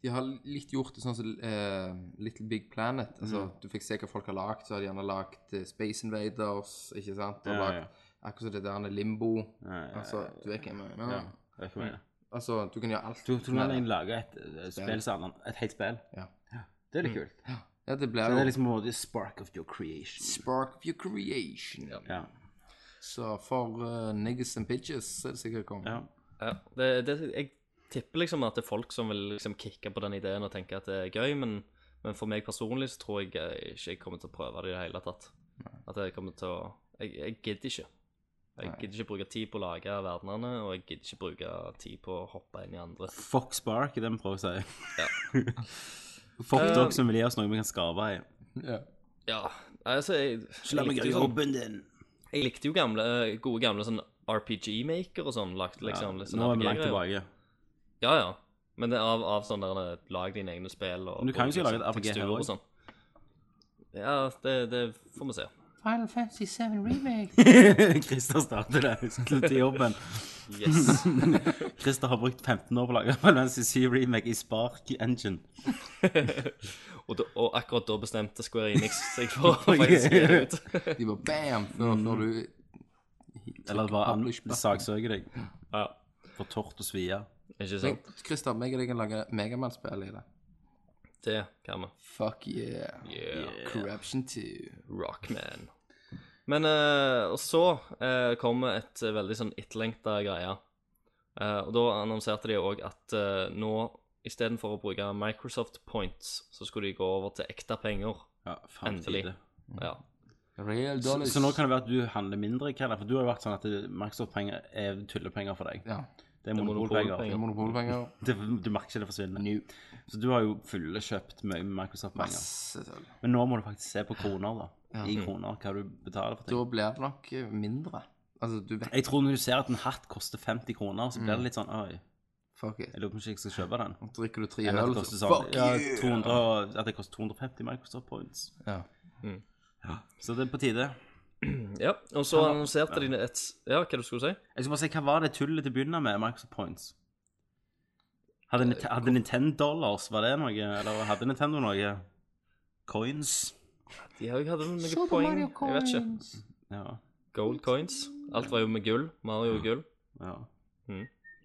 Speaker 7: De har litt gjort det sånn som eh, Little Big Planet, altså
Speaker 5: Mm.
Speaker 7: du fikk se hva folk har lagt, så har de gjerne lagt eh, Space Invaders, ikke sant, og
Speaker 5: Ja, ja.
Speaker 7: lagt akkurat som det der Limbo,
Speaker 5: Ja, ja,
Speaker 7: altså, du vet ikke, men,
Speaker 5: Ja.
Speaker 7: ja.
Speaker 5: Jeg vet ikke hva jeg mener.
Speaker 7: altså, du kan gjøre alt.
Speaker 5: Du tror
Speaker 7: med
Speaker 5: man
Speaker 7: det.
Speaker 5: kan lage et eh, spill sammen, et helt spill?
Speaker 7: Ja.
Speaker 5: Det er litt kult.
Speaker 7: Ja, det blir
Speaker 5: Det er
Speaker 7: jo
Speaker 5: liksom the spark of your creation.
Speaker 7: Spark of your creation.
Speaker 5: Ja.
Speaker 7: Så for eh, niggas and bitches, så er det sikkert kommet.
Speaker 5: ja.
Speaker 6: Ja, det, det, jeg tipper liksom at det er folk som vil liksom kicke på den ideen og tenke at det er gøy, men, men for meg personlig så tror jeg eh, ikke jeg kommer til å prøve det i det hele tatt. At jeg kommer til å Jeg, jeg gidder ikke. Jeg gidder ikke bruke tid på å lage verdenene, og jeg gidder ikke bruke tid på å hoppe inn i andre.
Speaker 5: Fuck spark, er det vi prøver å si. Fuck dere som vil gi oss noe vi kan skarve i.
Speaker 6: Ja, altså jeg, jeg, likte, jo, sånn-
Speaker 5: din.
Speaker 6: jeg likte jo gamle, gode gamle sånn RPG-maker og sånn. Lagt, liksom, litt sånn
Speaker 5: Nå er vi langt
Speaker 6: RPG-greier.
Speaker 5: tilbake.
Speaker 6: Ja, ja. Men det er av, av sånn der eh, lag dine egne spill og
Speaker 5: Men du kan jo
Speaker 6: og
Speaker 5: ikke lage et
Speaker 6: liksom
Speaker 5: RPG her
Speaker 6: teksturer og
Speaker 5: også.
Speaker 6: sånn. Ja, det, det får vi se.
Speaker 4: Final Fantasy 7 Remake.
Speaker 5: Christer starter det skulle til jobben.
Speaker 6: Yes.
Speaker 5: Christer har brukt 15 år på å lage Final Fantasy 7 Remake i Spark Engine.
Speaker 6: og, da, og akkurat da bestemte Square Enix seg for å faktisk gi det ut.
Speaker 7: De bare bam, før,
Speaker 5: Mm.
Speaker 7: før du
Speaker 5: Eller bare an-
Speaker 7: Publish button.
Speaker 5: saksøker deg
Speaker 6: Ja,
Speaker 5: for tort og svia.
Speaker 6: ikke
Speaker 7: Men
Speaker 6: sant?
Speaker 7: Christer, meg og deg kan lage Megaman-spill i det.
Speaker 6: Det kan vi.
Speaker 7: Fuck yeah.
Speaker 6: Yeah.
Speaker 7: Corruption 2.
Speaker 6: Rockman. Men eh, Og så eh, kommer et veldig sånn etterlengta greie. Eh, og da annonserte de òg at eh, nå istedenfor å bruke Microsoft Points, så skulle de gå over til ekte penger.
Speaker 5: Ja, faen
Speaker 6: Endelig.
Speaker 5: tidlig.
Speaker 6: Ja.
Speaker 7: Real
Speaker 5: Så,
Speaker 7: dollars.
Speaker 5: så nå kan det være at du handler mindre, Kalle, for du har jo vært sånn at det- Microsoft-penger er tullepenger for deg.
Speaker 7: Ja.
Speaker 5: Det er monopolpenger.
Speaker 6: monopolpenger.
Speaker 7: Det er monopolpenger.
Speaker 5: Det, du merker ikke det forsvinner. Så du har jo fullkjøpt mye Microsoft-penger.
Speaker 7: Masse sølv.
Speaker 5: Men nå må du faktisk se på kroner, da.
Speaker 7: Ja.
Speaker 5: I kroner, hva du betaler for ting.
Speaker 7: Da blir det nok eh, mindre. Altså, du vet
Speaker 5: Jeg tror når du ser at en hatt koster 50 kroner, så blir det litt sånn Oi,
Speaker 7: Fuck it.
Speaker 5: jeg lurer på om ikke jeg skal kjøpe den.
Speaker 7: Drikker du tre
Speaker 5: Enn at
Speaker 7: øl,
Speaker 5: det koster
Speaker 7: så
Speaker 5: sånn
Speaker 7: fuck
Speaker 5: ja,
Speaker 7: you!
Speaker 5: 200, At det koster 250 Microsoft points.
Speaker 7: Ja.
Speaker 5: Så det er på tide.
Speaker 6: ja. Og så annonserte de et s- Ja, hva du skulle si?
Speaker 5: Jeg skal bare si, Hva var det tullet til å begynne med, Microsoft points? Hadde, Nite- hadde Nintendo dollars, var det noe? Eller hadde Nintendo noe? Coins?
Speaker 6: De har jo hatt noen poeng. Jeg vet ikke.
Speaker 5: Ja.
Speaker 6: Gold coins. Alt var jo med gull. Mario og gull.
Speaker 5: ja.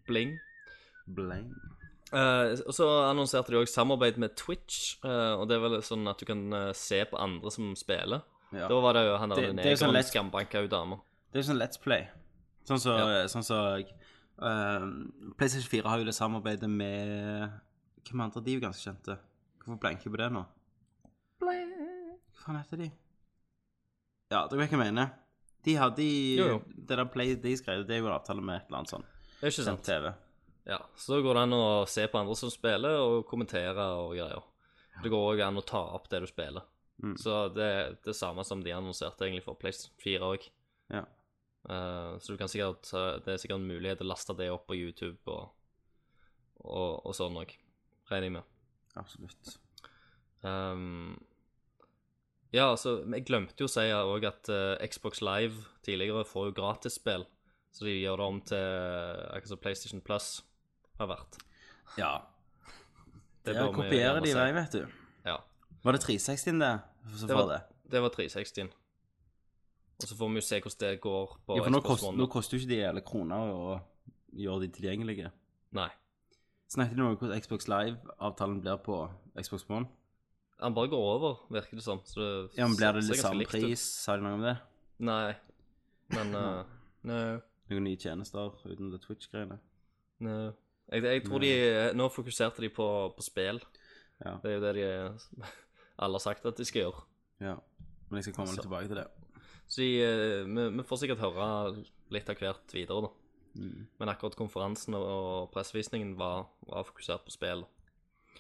Speaker 6: Bling.
Speaker 5: Blame.
Speaker 6: Eh, og så annonserte de òg samarbeid med Twitch. eh, og det er vel sånn at du kan eh, se på andre som spiller.
Speaker 5: Ja.
Speaker 6: Da var det jo han
Speaker 5: Det-
Speaker 6: der
Speaker 5: det er jo sånn
Speaker 6: negeren
Speaker 5: lett-
Speaker 6: skambanka ut dama.
Speaker 5: Det er jo sånn Let's Play. Sånn som
Speaker 6: Ja.
Speaker 5: sånn så, eh, PlayStation 4 har jo det samarbeidet med Hvem andre? De er jo ganske kjente. Hvorfor blenker jeg på det nå? Hva faen heter de? Ja, dere vet hva jeg mener. De hadde i-
Speaker 6: Jo, jo.
Speaker 5: Det der Play de skrev, det er jo en avtale med et eller annet sånn.
Speaker 6: Det er ikke
Speaker 5: Sendt
Speaker 6: sant.
Speaker 5: TV.
Speaker 6: Ja, Så da går det an å se på andre som spiller, og kommentere og greier. Det går òg an å ta opp det du spiller.
Speaker 5: Mm.
Speaker 6: Så det er det samme som de annonserte egentlig for PlayStation 4 òg.
Speaker 5: Ja.
Speaker 6: så du kan sikkert, eh, det er sikkert en mulighet til å laste det opp på YouTube og, og, og sånn òg, regner jeg med.
Speaker 5: Absolutt.
Speaker 6: Ehm, ja, altså, men jeg glemte jo å si òg at eh, Xbox Live tidligere får jo gratisspill, så de gjør det om til eh, akkurat som PlayStation Plus har vært.
Speaker 5: Ja.
Speaker 6: Det
Speaker 5: ja
Speaker 6: bør vi
Speaker 5: kopierer
Speaker 6: gjerne
Speaker 5: de i
Speaker 6: si.
Speaker 5: vei, vet du.
Speaker 6: Ja.
Speaker 5: Var det 360-en det? Som
Speaker 6: Det
Speaker 5: det
Speaker 6: var-
Speaker 5: var det?
Speaker 6: Det var 360. Og så får vi jo se hvordan det går på
Speaker 5: Ja, for nå,
Speaker 6: Xbox
Speaker 5: kost,
Speaker 6: One.
Speaker 5: nå koster jo ikke de hele kroner å gjøre de tilgjengelige.
Speaker 6: Nei.
Speaker 5: Snakket du noe om hvordan Xbox Live-avtalen blir på Xbox One?
Speaker 6: Han bare går over, virker det som. Så det
Speaker 5: Ja, men Blir det litt
Speaker 6: ser ganske
Speaker 5: samme
Speaker 6: likt ut.
Speaker 5: pris? Sa de noe om det?
Speaker 6: Nei. Men eh, no,
Speaker 5: Noen nye tjenester uten det Twitch-greiene?
Speaker 6: no. Jeg, jeg tror de Nå fokuserte de på, på spill.
Speaker 5: Ja.
Speaker 6: Det er jo det de alle har sagt at de skal gjøre.
Speaker 5: Ja. Men jeg skal komme litt tilbake til det.
Speaker 6: Så de, eh, vi, vi får sikkert høre litt av hvert videre, da.
Speaker 7: Mm.
Speaker 6: Men akkurat konferansen og- og pressevisningen var, var fokusert på spill.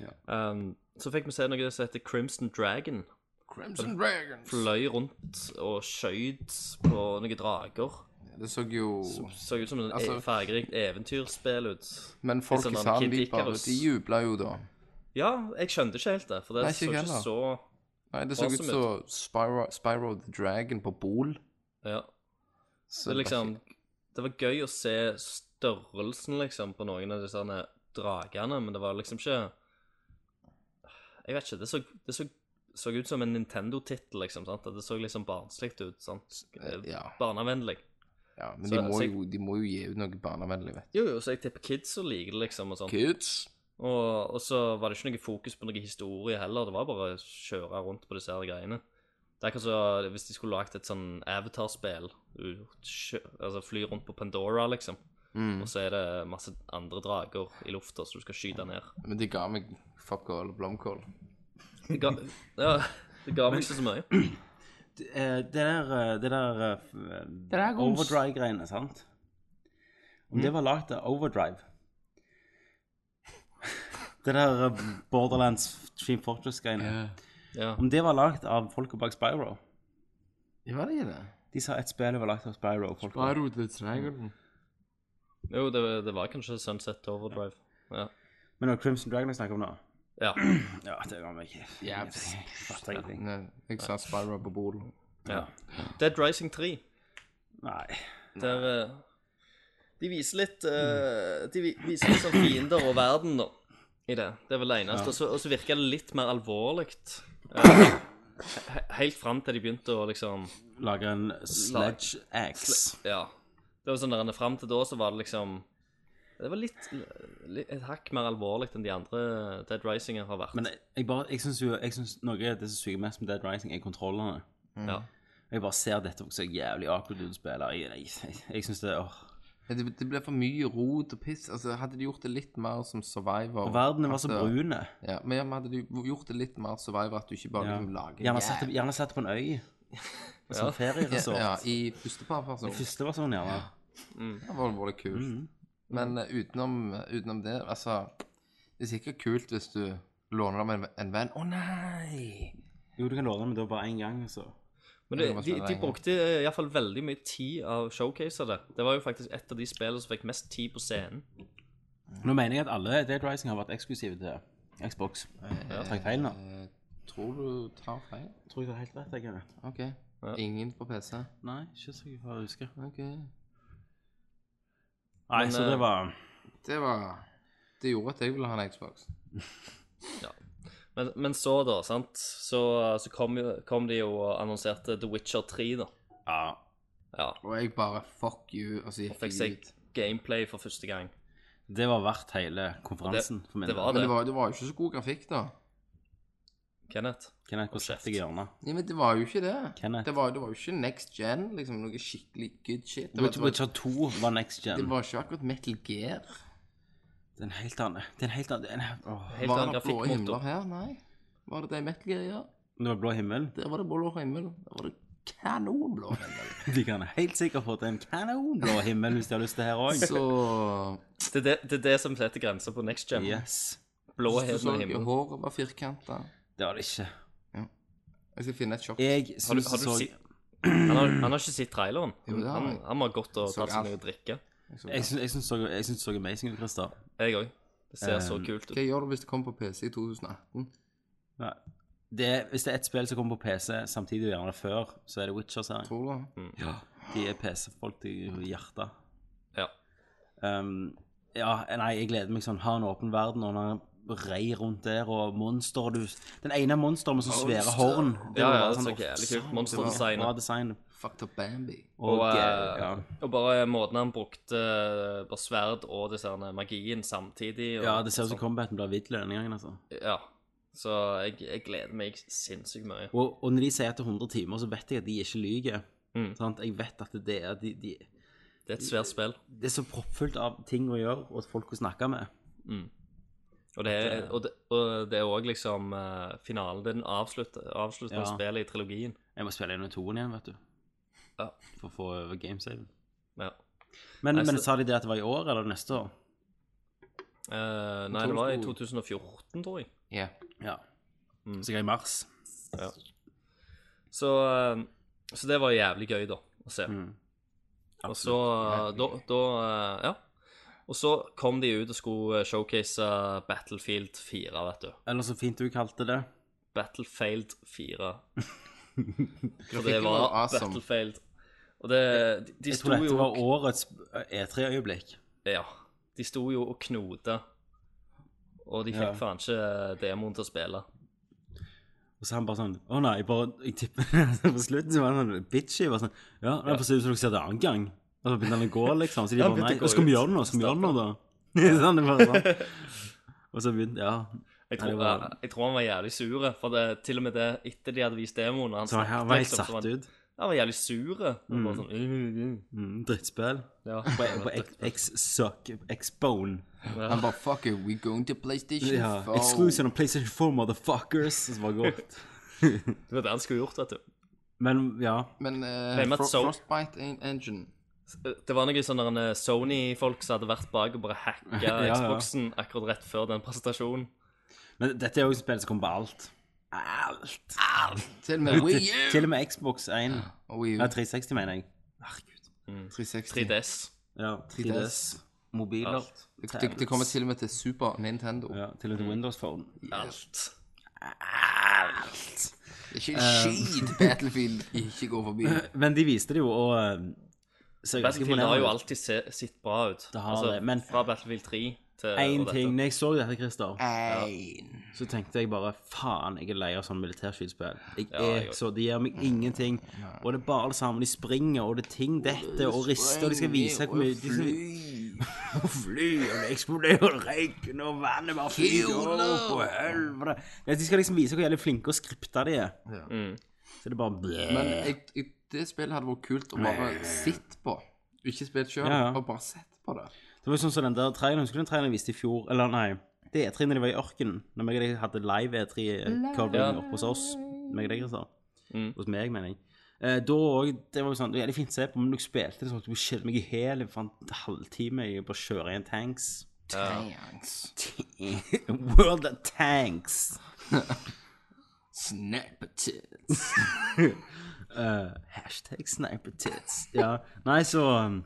Speaker 5: Ja.
Speaker 6: Um, så fikk vi se noe som heter Crimson Dragon.
Speaker 7: Crimson Dragons.
Speaker 6: Fløy rundt og skjøt på noen drager.
Speaker 7: Det så jo
Speaker 6: Som så ut som et
Speaker 7: Altså-
Speaker 6: e fargerikt eventyrspill ut.
Speaker 7: Men folk
Speaker 6: Litt
Speaker 7: i
Speaker 6: sånn
Speaker 7: salen,
Speaker 6: Kid
Speaker 7: de bare
Speaker 6: Icarus.
Speaker 7: De jubla jo da.
Speaker 6: Ja, jeg skjønte ikke helt det, for det
Speaker 7: Nei,
Speaker 6: så
Speaker 7: ikke
Speaker 6: ikke
Speaker 7: heller.
Speaker 6: så
Speaker 7: Nei, det så ut
Speaker 6: Awesome
Speaker 7: som Spyro, Spyro the Dragon på Bol.
Speaker 6: Ja.
Speaker 7: Så det
Speaker 6: Det, er
Speaker 7: var
Speaker 6: liksom, det var gøy å se størrelsen liksom, på noen av disse her dragene, men det var liksom ikke Jeg vet ikke. Det så, det så, så ut som en Nintendo-tittel, liksom. sant? At det så liksom barnslig ut. sant?
Speaker 7: ikke- Ja,
Speaker 6: Barnevennlig.
Speaker 7: ja men
Speaker 6: Så-
Speaker 7: de må,
Speaker 6: så jeg-
Speaker 7: jo, de må jo gi ut noe barnevennlig, vet du.
Speaker 6: Jo, jo, så jeg tipper kids og liker det, liksom. og sånn.
Speaker 7: Kids.
Speaker 6: Og, og så var det ikke noe fokus på noe historie heller. Det var bare å kjøre rundt på disse her greiene. Det er akkurat så hvis de skulle lagd et sånn Avatar-spill. du kjø- Altså fly rundt på Pandora, liksom.
Speaker 7: Mm.
Speaker 6: Og så er det masse andre drager i lufta som du skal skyte ned.
Speaker 7: Men de ga meg fuck all blomkål.
Speaker 6: Det ga, ja, det ga meg ikke så mye.
Speaker 5: Det eh, det der, eh, det der eh, f- eh,
Speaker 4: Dragons.
Speaker 5: Overdrive-greiene, sant? Om det var lagd av Overdrive Det der eh, Borderlands Team Fortress-greiene
Speaker 6: Ja.
Speaker 5: Om det var lagd av folka bak Spyro
Speaker 7: Var det ikke det?
Speaker 5: De sa et spill var lagd av Spyro. og folka-
Speaker 7: the Dragon.
Speaker 6: Jo, det, det var kanskje Sunset Overdrive. Ja.
Speaker 5: Men det var Crimson Dragon jeg snakker om nå.
Speaker 6: ja.
Speaker 5: Ja, det var meg ikke.
Speaker 7: Ja,
Speaker 5: Jeg fatter ingenting.
Speaker 7: Nei, jeg sa Spyro på Bol.
Speaker 6: ja. Dead Rising 3.
Speaker 5: Nei.
Speaker 6: Der eh, De viser litt eh, De vi- viser litt sånn fiender og verden, da. I det. Det er vel det eneste. Og så- Og så virker det litt mer alvorlig. eh, he- helt fram til de begynte å liksom
Speaker 5: Lage en sledge axe.
Speaker 6: Ja. Det var sånn der, Fram til da så var det liksom Det var litt, li- et hakk mer alvorlig enn de andre Dead Risinger har vært.
Speaker 5: Men jeg, jeg bare, jeg syns jo jeg synes noe av det som suger mest med Dead Rising, er kontrollene.
Speaker 6: ja.
Speaker 5: Jeg bare ser dette så jævlig awkward ut å spille. Jeg, jeg, jeg, jeg syns det åh.
Speaker 7: Det, det ble for mye rot og piss. Altså, hadde de gjort det litt mer som survivor
Speaker 5: Og verden var så
Speaker 7: at, uh,
Speaker 5: brune.
Speaker 7: Ja, men ja, men hadde de gjort det litt mer survivor at du ikke bare
Speaker 5: Ja.
Speaker 7: liksom lager
Speaker 5: Gjerne satt, gjerne satt på en øy. Som
Speaker 7: ja,
Speaker 5: ferieresort.
Speaker 7: ja, i førsteparperson.
Speaker 5: Det første Mm. var sånn, gjerne.
Speaker 7: Det var veldig kult. Men eh, utenom, utenom det, altså Det er sikkert kult hvis du låner dem en, en venn. Å nei!
Speaker 5: Jo, du kan låne, men da bare én gang, altså. så.
Speaker 7: Mm.
Speaker 6: Men
Speaker 7: Det
Speaker 6: det,
Speaker 7: var
Speaker 6: de,
Speaker 7: spennende.
Speaker 6: de brukte eh, iallfall veldig mye tid av showcase av det. Det var jo faktisk et av de spillene som fikk mest tid på scenen.
Speaker 5: Nå mener jeg at alle Dead Rising har vært eksklusive til Xbox. Jeg Trakk feil nå.
Speaker 7: Eh, tror du tar feil?
Speaker 5: Tror jeg du har helt rett, jeg. Kenneth.
Speaker 7: OK. Ingen på PC?
Speaker 5: Nei, ikke så jeg har husker.
Speaker 7: OK.
Speaker 5: Nei,
Speaker 6: Men,
Speaker 5: så
Speaker 6: eh,
Speaker 5: det var
Speaker 7: Det var Det gjorde at jeg ville ha en Xbox.
Speaker 6: Men, men så, da, sant, så, så kom, jo- kom de jo og annonserte The Witcher 3, da.
Speaker 5: Ja.
Speaker 6: Ja,
Speaker 7: Og jeg bare fuck you, og så
Speaker 6: og
Speaker 7: gikk
Speaker 6: fikk
Speaker 7: jeg
Speaker 6: seg
Speaker 7: ut.
Speaker 6: gameplay for første gang.
Speaker 5: Det var verdt hele konferansen for min
Speaker 6: det
Speaker 5: del.
Speaker 6: var
Speaker 7: Men det var, det var jo ikke så god grafikk, da.
Speaker 6: Kenneth?
Speaker 5: Kenneth, hvor setter jeg hjørnet?
Speaker 7: Nei, men det var jo ikke det.
Speaker 5: Kenneth.
Speaker 7: Det var, det var jo ikke next gen, liksom noe skikkelig good shit. Det var,
Speaker 5: Witcher,
Speaker 7: det var,
Speaker 5: Witcher 2 var next gen.
Speaker 7: det var ikke akkurat Metal Gear.
Speaker 5: Det er en helt annen Det er en helt annen det er en, åh.
Speaker 6: Helt
Speaker 7: Var
Speaker 6: annen
Speaker 7: det blå himler
Speaker 6: grafikkmotor.
Speaker 7: her? Nei. Var det det i Metal Gear, ja?
Speaker 5: Det var blå himmel.
Speaker 7: Der var det blå himmel. Der var det kanonblå himmel.
Speaker 5: De kan helt sikkert få til en kanonblå himmel hvis de har lyst til her òg.
Speaker 7: Så
Speaker 6: Det, er det, det er det som setter grenser på next gen.
Speaker 5: Yes.
Speaker 6: Blå
Speaker 7: du så
Speaker 6: heden og himmel.
Speaker 7: håret var firkanta.
Speaker 5: Det var det ikke.
Speaker 7: Jeg skal finne et shot.
Speaker 5: Jeg
Speaker 6: Har du,
Speaker 5: syns
Speaker 6: har
Speaker 5: det
Speaker 6: du
Speaker 5: så
Speaker 6: si... han, har, han har ikke sett traileren.
Speaker 7: Jo, det har
Speaker 6: han,
Speaker 7: jeg.
Speaker 6: han har gått og
Speaker 7: Så
Speaker 6: tatt seg
Speaker 7: alt.
Speaker 6: noe å drikke.
Speaker 7: Jeg så-
Speaker 5: Jeg syns- jeg syns så- jeg syns det så amazing ut, Christer.
Speaker 6: Jeg òg. Det ser så
Speaker 5: Um,
Speaker 6: kult ut.
Speaker 7: Hva gjør du hvis det kommer på PC i 2018?
Speaker 5: Nei. Det, hvis det er ett spill som kommer på PC samtidig, og gjerne før, så er det Witcher-serien.
Speaker 7: Tror du?
Speaker 5: De er PC-folk til hjertet.
Speaker 6: Ja.
Speaker 5: Um, ja, nei, jeg gleder meg sånn. Ha en åpen verden, og han rei rundt der, og monster du, Den ene monsteren med sånne svære horn. Det
Speaker 6: Ja,
Speaker 5: var
Speaker 6: ja,
Speaker 5: bare
Speaker 6: det
Speaker 5: sånn,
Speaker 6: så jævlig
Speaker 5: «Åh,
Speaker 6: kult.
Speaker 5: det var
Speaker 6: Monsterdesignet.
Speaker 5: Bra design.
Speaker 7: Fucked up Bambi.
Speaker 5: Og, eh,
Speaker 6: Og,
Speaker 5: ja.
Speaker 6: eh, og bare måten han brukte eh, bare sverd og disse her eh, magien samtidig. Og,
Speaker 5: ja, det ser ut som
Speaker 6: sånn.
Speaker 5: combaten blir hvitt denne gangen, altså.
Speaker 6: Ja. Så jeg, jeg gleder meg sinnssykt mye.
Speaker 5: Og, og når de sier at det er 100 timer, så vet jeg at de ikke lyver.
Speaker 6: Mm.
Speaker 5: Sant? Jeg vet at det er de, de,
Speaker 6: Det er et svært spill.
Speaker 5: Det er så proppfullt av ting å gjøre, og folk å snakke med.
Speaker 6: Mm. Og det er, og det, og det er også liksom eh, finalen. Det er den avsluttende avsluttende
Speaker 5: Ja.
Speaker 6: spillet i trilogien.
Speaker 5: Jeg må spille inn i toen igjen, vet du.
Speaker 6: Ja.
Speaker 5: For å få over gamesaven.
Speaker 6: Ja.
Speaker 5: Men,
Speaker 6: Nei,
Speaker 5: men
Speaker 6: så-
Speaker 5: sa de det at det var i år, eller neste år?
Speaker 6: Eh, nei, det var i 2014, tror jeg.
Speaker 7: Ja.
Speaker 5: Ja.
Speaker 6: Mm.
Speaker 5: Sikkert i mars.
Speaker 6: Så, eh, så det var jævlig gøy, da, å se. Og så eh, da, da eh, Ja. Og så kom de ut og skulle eh, showcase eh, Battlefield 4, vet du.
Speaker 5: Eller så fint du kalte det.
Speaker 6: Battlefield 4. For det
Speaker 7: Grafikken
Speaker 6: var
Speaker 7: var awesome.
Speaker 6: Battlefield. Og det De, de
Speaker 5: Jeg
Speaker 6: sto
Speaker 5: tror dette
Speaker 6: jo
Speaker 5: var årets eh, E3-øyeblikk.
Speaker 6: Ja. De sto jo og knota. Og de
Speaker 5: Ja.
Speaker 6: fikk faen ikke eh, demoen til å spille.
Speaker 5: Og så han bare sånn Å nei, bare Jeg tipper På slutten så var han sånn bitchy. Bare sånn Ja, det er på siden som dere ser det annen gang. Og så begynte han å gå, liksom. Så de
Speaker 6: Ja,
Speaker 5: bare
Speaker 6: begynte
Speaker 5: Nei,
Speaker 6: å gå
Speaker 5: skal vi
Speaker 6: ut.
Speaker 5: gjøre det nå? Skal vi gjøre det nå, da? sånn, det var sånn. Og så begynte Ja.
Speaker 6: Jeg
Speaker 5: Nei, det
Speaker 6: tror, eh,
Speaker 5: var-
Speaker 6: jeg, jeg tror han var jævlig sur, for det, til og med det etter de hadde vist demoen og han
Speaker 5: Så han
Speaker 6: snakket,
Speaker 5: var helt
Speaker 6: liksom, så var
Speaker 5: satt
Speaker 6: han-
Speaker 5: ut.
Speaker 6: Han var jævlig sur. Han var sånn,
Speaker 5: Mm, Drittspill.
Speaker 6: ja,
Speaker 5: På, e- på X- X-Suck. X-Bone.
Speaker 7: Han bare fuck you, we going to PlayStation
Speaker 5: Ja.
Speaker 7: 4.
Speaker 5: Exclusion of PlayStation 4, motherfuckers. Og så bare gått.
Speaker 6: Det var det han skulle gjort, vet du.
Speaker 5: Men ja.
Speaker 7: Men eh,
Speaker 6: Hvem er
Speaker 7: Fro
Speaker 6: Soul?
Speaker 7: Frostbite en- Engine
Speaker 6: øh, Det var sånn noen sånne derne eh, Sony-folk som hadde vært bak og bare hacka
Speaker 5: Ja, ja.
Speaker 6: Xboxen akkurat rett før den presentasjonen.
Speaker 5: Men dette er jo et spill som kommer på alt. Alt.
Speaker 7: Til og med Wii
Speaker 5: Til-
Speaker 7: U!
Speaker 5: Til og med Xbox 1.
Speaker 7: Og Wii U
Speaker 5: Ja, 360, mener jeg.
Speaker 7: 360.
Speaker 6: 3DS.
Speaker 5: Ja, 3DS. Mobiler.
Speaker 6: Alt. Mm.
Speaker 7: Det, det, det kommer til og med til Super Nintendo.
Speaker 5: Ja, til og med Windows Phone.
Speaker 6: Alt.
Speaker 7: Det er ikke en skit Battlefield ikke går forbi.
Speaker 5: Men de viste det jo, og eh, ser ganske
Speaker 6: Battlefield har jo
Speaker 5: imponerende ut.
Speaker 6: alltid se, sett bra ut. Altså,
Speaker 5: Det har det, men-
Speaker 6: Fra Battlefield 3 til
Speaker 5: Én
Speaker 6: eh, og
Speaker 5: ting
Speaker 6: dette.
Speaker 5: Når jeg så dette, Christer,
Speaker 7: Ein.
Speaker 5: så tenkte jeg bare faen, jeg er lei av sånn militærskytespill. Jeg
Speaker 6: Ja, jeg
Speaker 5: er
Speaker 6: også.
Speaker 5: så Det gir meg ingenting. Og det er bare det samme. De springer, og det er ting dette, og rister, og de skal vise hvor mye de skal... Og fly, og det eksploderer, og røyken, og vannet bare flyr opp, og helvete. Mm. Ja, De skal liksom vise hvor jævlig flinke og skripta de er. Så det er bare
Speaker 7: Men jeg, jeg det spillet hadde vært kult å bare sitte på. Ikke spilt sjøl,
Speaker 5: Ja, ja.
Speaker 7: og bare sett på det.
Speaker 5: Det var jo sånn som den der traileren, husker du den traileren jeg viste i fjor? Eller nei, det E3 når de var i ørkenen, når meg og deg hadde live
Speaker 6: Ja.
Speaker 5: E3-covering oppe hos oss. Meg og deg, altså.
Speaker 6: Mm.
Speaker 5: Hos meg, mener jeg. Eh, da òg Det var jo sånn, det er jævlig fint å se på, men når jeg spilte det, så holdt jeg på å skjelle meg i hæl for en halvtime. Jeg bare kjører i en tanks.
Speaker 7: Tanks.
Speaker 5: World of Tanks.
Speaker 7: Snapper tits.
Speaker 5: Eh, hashtag sniper tits. Ja. Nei, så um,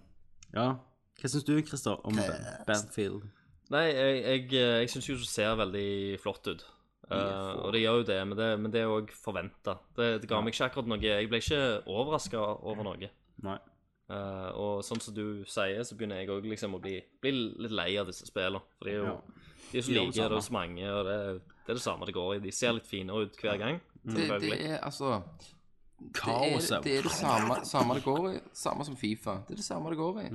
Speaker 5: Ja. Hva syns du, Christer, om Ban- Banfield?
Speaker 6: Nei, jeg, jeg, eh, jeg syns jo det ser veldig flott ut. Eh, og det gjør jo det, men det, men det er òg forventa. Det, det ga meg ikke akkurat noe Jeg ble ikke overraska over noe.
Speaker 5: Nei.
Speaker 6: Eh, og sånn som du sier, så begynner jeg òg liksom å bli, bli litt lei av disse spillene. For de er jo
Speaker 5: Ja.
Speaker 6: de er så like, det er så mange, og det, er- det er det samme det går i. De ser litt finere ut hver gang.
Speaker 7: Det, det
Speaker 6: Selvfølgelig.
Speaker 7: er altså det er,
Speaker 5: Kaoset.
Speaker 7: det er det samme, samme det går i. Samme som Fifa. Det er det samme det går i.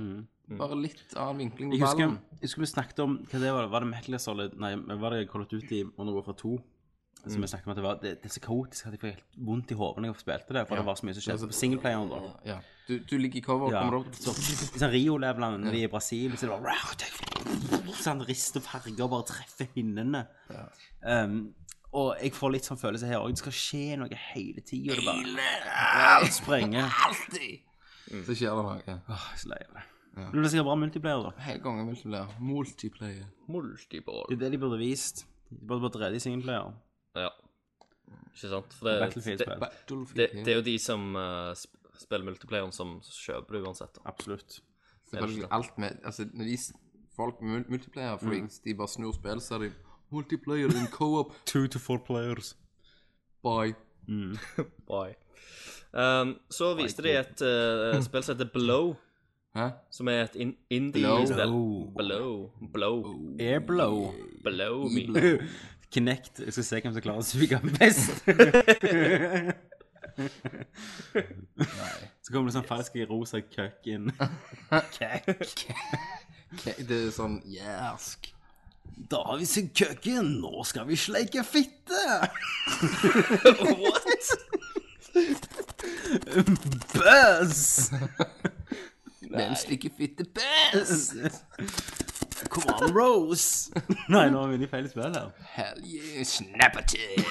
Speaker 7: Bare litt annen vinkling på
Speaker 5: Mm. Jeg husker,
Speaker 7: ballen.
Speaker 5: jeg husker vi snakket om hva det var, var det Metal Gear Solid Nei, var det Call of Duty Modern Warfare 2? Som jeg snakket om at det var Det, det er så kaotisk at jeg får helt vondt i hodet når jeg spilte det. For det var så mye som skjedde på singleplayeren. da
Speaker 7: Ja. Du, du ligger i cover og
Speaker 5: ja.
Speaker 7: kommer opp
Speaker 5: Så, I sånn Rio-levelene når de er i Brasil, så er det bare Sånn rister farger og bare treffer hinnene. Um, og jeg får litt sånn følelse her òg. Det skal skje noe hele tida. Det bare Alt sprenger. Mm.
Speaker 7: Så skjer det noe.
Speaker 5: Åh, jeg er så lei av det. Men det blir sikkert bra multiplayer, da.
Speaker 7: Hele gangen multiplayer. Multiplayer.
Speaker 5: Det
Speaker 6: Multiball.
Speaker 5: er det de burde vist. De burde bare dreid i singleplayer.
Speaker 6: Ja. Ikke sant? For det, det,
Speaker 5: Battlefield-spill.
Speaker 6: det, det er jo de som eh, sp spiller multiplayeren, som kjøper det uansett. Da.
Speaker 5: Absolutt.
Speaker 7: Selvfølgelig alt med Altså, når de s- folk med mul- multiplayer,
Speaker 5: Mm.
Speaker 7: for hvis de bare snur spill, så er de Multiplayer in co-op
Speaker 5: Two to four players.
Speaker 7: by
Speaker 6: Bye. Um, så viste de et eh, spill som heter Blow,
Speaker 7: Hæ?
Speaker 6: som er et in
Speaker 7: Blow.
Speaker 6: indie-spill. Blow. Blow.
Speaker 5: Oh, Airblow.
Speaker 6: Blow me.
Speaker 5: Kinect. Jeg skal se hvem som klarer å suge best. Så kommer det sånn falsk rosa køkk inn.
Speaker 7: K- Det er sånn jærsk.
Speaker 5: Da har vi sugd køkken, nå skal vi sleike fitte!
Speaker 6: What?
Speaker 5: Buzz!
Speaker 7: Hvem slikker fitte best?
Speaker 5: Come on, Rose! Nei, nå er vi inne i feil spill her.
Speaker 7: Hell yeah, snapper til!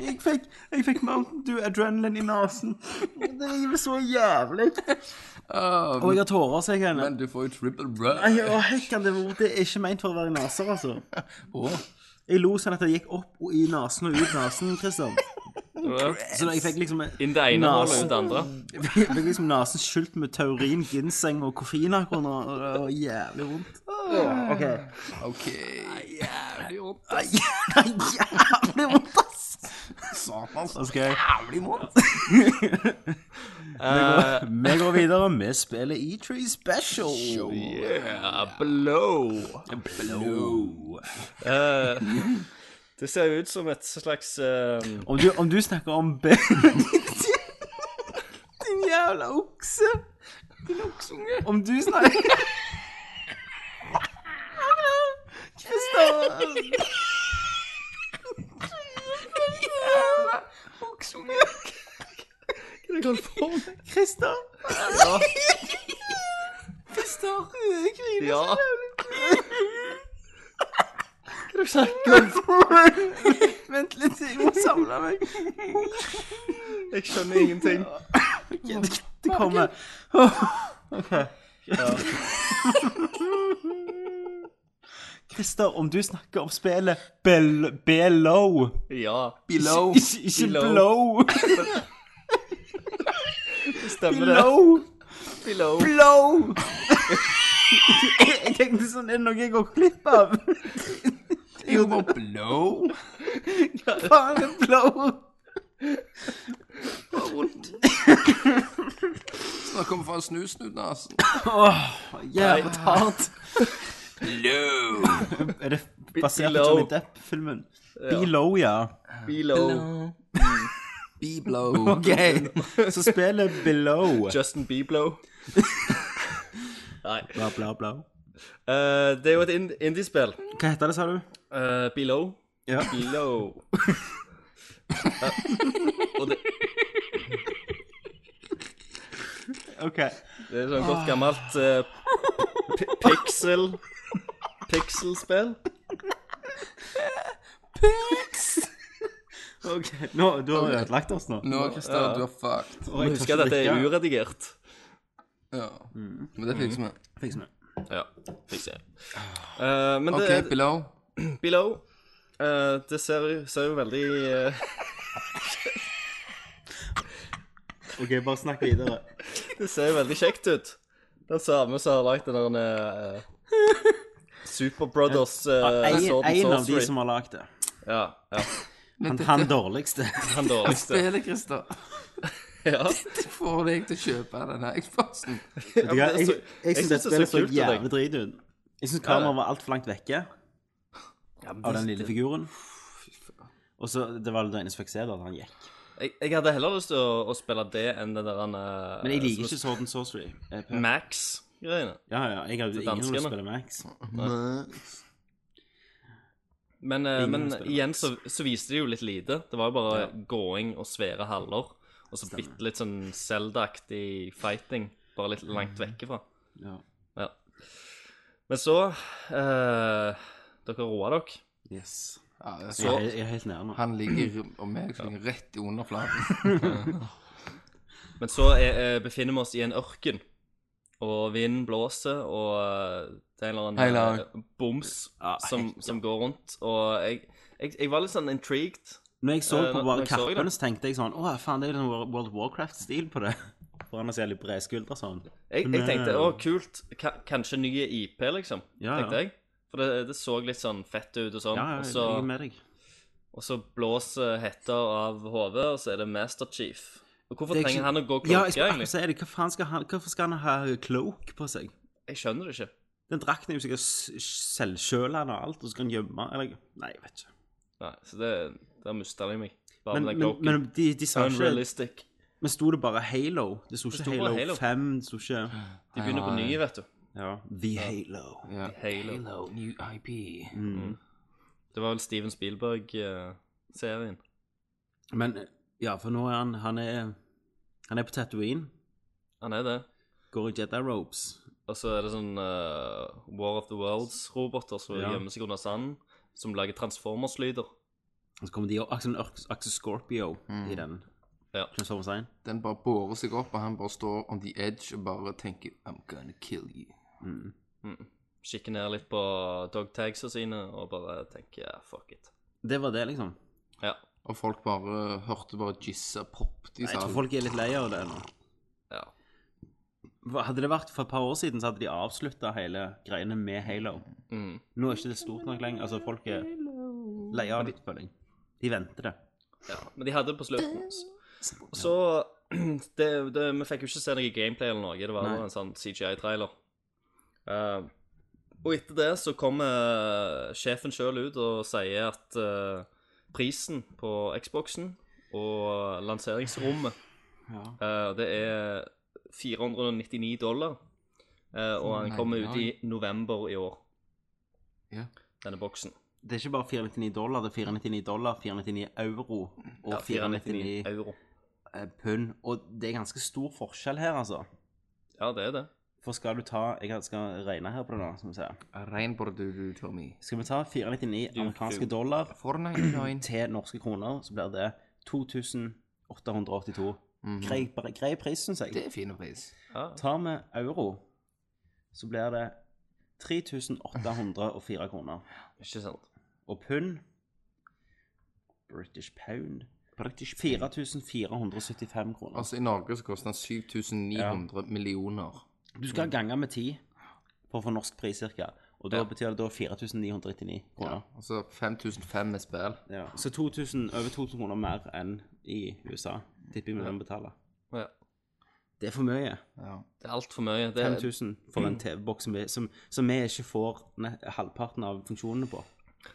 Speaker 5: Jeg fikk, jeg fikk Mountain Dew adrenaline i nesen. Det er jo så jævlig. Og jeg har tårer, så jeg kan
Speaker 7: Men du får jo triple bro.
Speaker 5: Nei, å, hekken, det, var- det er ikke meint for å være naser, altså. Jeg lo sånn at det gikk opp og i nesen og ut nesen, Kristian. Så da jeg fikk liksom
Speaker 6: Inn det ene
Speaker 5: Nas.
Speaker 6: hullet og ut det andre.
Speaker 5: Jeg fikk liksom nesen skylt med taurin, ginseng og koffein akkurat nå, og det var jævlig vondt. Ok.
Speaker 7: OK. Jævlig vondt.
Speaker 5: Ai, Jævlig vondt, ass!
Speaker 7: Satans
Speaker 5: Da skal jeg
Speaker 7: jævlig vondt.
Speaker 6: Eh,
Speaker 5: Vi går videre. Vi spiller E3 Special.
Speaker 6: yeah, blow.
Speaker 5: Blow.
Speaker 6: Eh, det ser jo ut som et slags eh,
Speaker 5: Om du, om du snakker om B... Din jævla okse! Din oksunge. Om du snakker Kristian! Kristian! Kristian! Jeg griner
Speaker 6: Ja.
Speaker 5: så jævlig. Vent litt, jeg må samle meg.
Speaker 6: Jeg skjønner ingenting.
Speaker 5: Det kommer. eh, Christer, om dus du snakker om spillet Bel Below
Speaker 6: Ja,
Speaker 7: Below.
Speaker 5: Ikke, ikke
Speaker 6: Below.
Speaker 5: Blow.
Speaker 6: stemmer det.
Speaker 5: Below.
Speaker 6: Blow.
Speaker 5: Blow. Jeg tenkte sånn, er det noe jeg går glipp av?
Speaker 7: Jo, bare blow.
Speaker 5: Faen, Blow.
Speaker 7: Nå kommer faen snusen ut altså. nesen.
Speaker 5: Jævlig hardt.
Speaker 7: Blow.
Speaker 5: Er det basert på
Speaker 6: Below.
Speaker 5: Johnny Depp-filmen? Below, ja.
Speaker 6: Blow.
Speaker 7: Be blow.
Speaker 5: OK, så spillet Below.
Speaker 6: Justin Bieber. Nei.
Speaker 5: Bla, bla, bla.
Speaker 6: Eh, det er jo et ind- indie-spill.
Speaker 5: Hva heter det, sa du?
Speaker 6: Eh, Below.
Speaker 5: Ja.
Speaker 6: Low. og det,
Speaker 5: OK.
Speaker 6: det er sånn godt gammelt eh, pi- pixel Pixel-spill.
Speaker 5: Ok, nå, Du har ødelagt oss nå.
Speaker 7: Nå, Christer,
Speaker 6: Ja.
Speaker 7: du er fucked.
Speaker 5: Og
Speaker 6: Må
Speaker 5: jeg
Speaker 6: huske
Speaker 5: tør
Speaker 6: at dette
Speaker 5: ikke
Speaker 6: er
Speaker 5: drikke.
Speaker 6: uredigert.
Speaker 7: Ja.
Speaker 5: Mm.
Speaker 7: Men det fikser vi.
Speaker 5: Fiks med.
Speaker 6: Ja, fikk se.
Speaker 5: Ah.
Speaker 6: Eh, men
Speaker 7: OK,
Speaker 6: det er
Speaker 7: below.
Speaker 6: below. Eh, det ser, jo- ser jo veldig eh,
Speaker 5: OK, bare snakk videre.
Speaker 6: Det ser jo veldig kjekt ut. Den samme som har lagd den der eh, Super Brothers eh,
Speaker 5: En,
Speaker 6: Sword and
Speaker 5: en av de
Speaker 6: Sorcery.
Speaker 5: som har lagd det.
Speaker 6: Ja, ja.
Speaker 5: Han, han dårligste.
Speaker 6: Han dårligste.
Speaker 7: Spillet, Christer.
Speaker 6: Ja.
Speaker 7: Det får deg til å kjøpe denne Xboxen.
Speaker 5: Vet du hva,
Speaker 6: men det er
Speaker 5: Jeg,
Speaker 6: så-
Speaker 5: jeg,
Speaker 6: jeg
Speaker 5: syns
Speaker 6: synes
Speaker 5: det
Speaker 6: det
Speaker 5: spillet
Speaker 6: ser
Speaker 5: så
Speaker 6: kult ut, jeg.
Speaker 5: jævlig drit ut. Jeg syns kameraet var altfor langt vekke av den lille figuren. Og så, Det var det eneste jeg fikk se, da, at han gikk.
Speaker 6: Jeg, jeg hadde heller lyst til å, å spille det enn den der han eh,
Speaker 5: Men jeg liker
Speaker 6: som-
Speaker 5: ikke Sword and Sorcery. Eh, per-
Speaker 6: Max-greiene.
Speaker 5: Ja, ja, jeg har jo ingen som
Speaker 6: danskene.
Speaker 5: spiller Max.
Speaker 6: Men, eh,
Speaker 5: Ingen
Speaker 6: men
Speaker 5: spiller
Speaker 6: igjen så, så viste det jo litt lite. Det var jo bare gåing og svære haller. Og så bitte litt sånn Zelda-aktig fighting, bare litt
Speaker 5: Mm.
Speaker 6: langt vekke fra.
Speaker 5: Ja.
Speaker 6: Ja. Men så eh, Dere roer dere.
Speaker 5: Yes.
Speaker 7: Ja, det er
Speaker 5: Jeg,
Speaker 7: så,
Speaker 5: er- jeg er helt nærme.
Speaker 7: han ligger og meg som ligger rett i underflaten.
Speaker 6: Men så er, eh, befinner vi oss i en ørken. Og vinden blåser, og eh, det er en eller annen
Speaker 7: Hei, lag.
Speaker 6: eh, boms
Speaker 5: Ja,
Speaker 6: som,
Speaker 5: helt,
Speaker 6: som går rundt. Og jeg, jeg, jeg var litt sånn intrigued.
Speaker 5: Når jeg så
Speaker 6: Eh,
Speaker 5: på
Speaker 6: når- når
Speaker 5: bare
Speaker 6: jeg så det.
Speaker 5: kappene, så tenkte jeg sånn Å, faen, det er jo sånn World of Warcraft-stil på det. Foran å se litt bredskuldre sånn.
Speaker 6: Jeg, jeg tenkte
Speaker 5: Wow.
Speaker 6: å, kult. Ka kanskje nye IP, liksom.
Speaker 5: Ja, ja.
Speaker 6: tenkte jeg. For det, det så litt sånn fett ut og sånn.
Speaker 5: Ja, ja,
Speaker 6: og,
Speaker 5: jeg er
Speaker 6: så,
Speaker 5: med deg.
Speaker 6: og så blåser hetter av hodet, og så er det Master Chief. Og hvorfor
Speaker 5: Det er
Speaker 6: trenger
Speaker 5: ikke-
Speaker 6: han å gå og
Speaker 5: Ja,
Speaker 6: klokke,
Speaker 5: jeg skulle akkurat
Speaker 6: egentlig?
Speaker 5: si det. Hva faen skal han, hvorfor skal han ha cloak på seg?
Speaker 6: Jeg skjønner det ikke.
Speaker 5: Den drakten er jo sikkert s- selvkjølet han og alt, og så kan han gjemme Eller Nei, jeg vet ikke.
Speaker 6: Nei, så det, der mista de meg. Bare
Speaker 5: Men,
Speaker 6: med den
Speaker 5: men,
Speaker 6: klokken.
Speaker 5: men de, de sa ikke
Speaker 6: Unrealistic.
Speaker 5: Men sto det bare Halo? Det sto ikke
Speaker 6: sto bare
Speaker 5: Halo,
Speaker 6: Halo.
Speaker 5: 5, det sto ikke
Speaker 6: De begynner på
Speaker 7: Nei.
Speaker 6: nye, vet du.
Speaker 5: Ja. The Halo.
Speaker 7: Ja.
Speaker 6: Halo.
Speaker 8: Hello, new IP.
Speaker 5: Mm.
Speaker 6: Det var vel Steven Spielberg-serien.
Speaker 5: Men eh, ja, for nå er han Han er, han er på Tatooine,
Speaker 6: Han er det.
Speaker 5: går i Jedi Robes.
Speaker 6: Og så er det sånn eh, War of the Worlds-roboter som
Speaker 5: Ja.
Speaker 6: gjemmer seg under sanden, som lager transformers-lyder.
Speaker 5: Og så kommer de og Axel, Axel Scorpio i den.
Speaker 6: Mm. Ja.
Speaker 5: Transformers 1.
Speaker 7: Den bare borer seg opp, og han bare står on the edge og bare tenker I'm gonna kill you.
Speaker 5: Mm.
Speaker 6: Kikker ned litt på dogtagsa sine og bare tenker ja, fuck it.
Speaker 5: Det var det, liksom.
Speaker 6: Ja.
Speaker 7: Og folk bare hørte bare jizza poppet i
Speaker 5: Jeg tror
Speaker 7: salen.
Speaker 5: folk er litt lei av det nå.
Speaker 6: ja.
Speaker 5: Hva- Hadde det vært for et par år siden, så hadde de avslutta hele greiene med Halo.
Speaker 6: Mm.
Speaker 5: Nå er ikke det stort nok lenger. Altså, folk er lei av det, føler jeg. De venter det.
Speaker 6: ja. Men de hadde det på slutten. altså. Og så det, det, Vi fikk jo ikke se noe gameplay eller noe. Det var
Speaker 5: Nei.
Speaker 6: bare en sånn CGI-trailer. Eh, og etter det så kommer sjefen sjøl ut og sier at eh, prisen på Xboxen og lanseringsrommet eh, Det er 499 dollar. eh, og han
Speaker 7: Nei,
Speaker 6: kommer ut
Speaker 7: nei.
Speaker 6: i november i år,
Speaker 7: Ja.
Speaker 6: denne boksen.
Speaker 5: Det er ikke bare 499 dollar, det er 499 dollar, 499 euro og
Speaker 6: Ja, 499
Speaker 5: 499
Speaker 6: euro.
Speaker 5: eh, pund. Og det er ganske stor forskjell her, altså.
Speaker 6: Ja, det er det.
Speaker 5: For skal du ta Jeg skal regne her på det nå, som vi sier.
Speaker 7: Regnbord du, du, Tommy.
Speaker 5: Skal vi ta 499 amerikanske dollar
Speaker 7: Fortnite
Speaker 5: til norske kroner, så blir det 2882. Grei, grei pris, syns jeg.
Speaker 7: Det er fin pris.
Speaker 5: Tar vi euro, så blir det 3804 kroner.
Speaker 6: Ikke sant?
Speaker 5: Og pund British pound 4475 kroner.
Speaker 7: Altså, i Norge så koster den 7900 millioner.
Speaker 5: Du skal gange med 10 for å få norsk pris, cirka. Og da
Speaker 6: Ja.
Speaker 5: betyr det da 4999 kroner.
Speaker 7: Altså 5500 med spill.
Speaker 5: Ja. Så 2000, over 2000 kroner mer enn i USA. Tipper jeg vi må betale.
Speaker 6: Ja.
Speaker 5: Det er for mye.
Speaker 7: Ja.
Speaker 6: Det er altfor mye. Det,
Speaker 5: 5000 for en TV-boks som, vi- som, som vi ikke får ne halvparten av funksjonene på.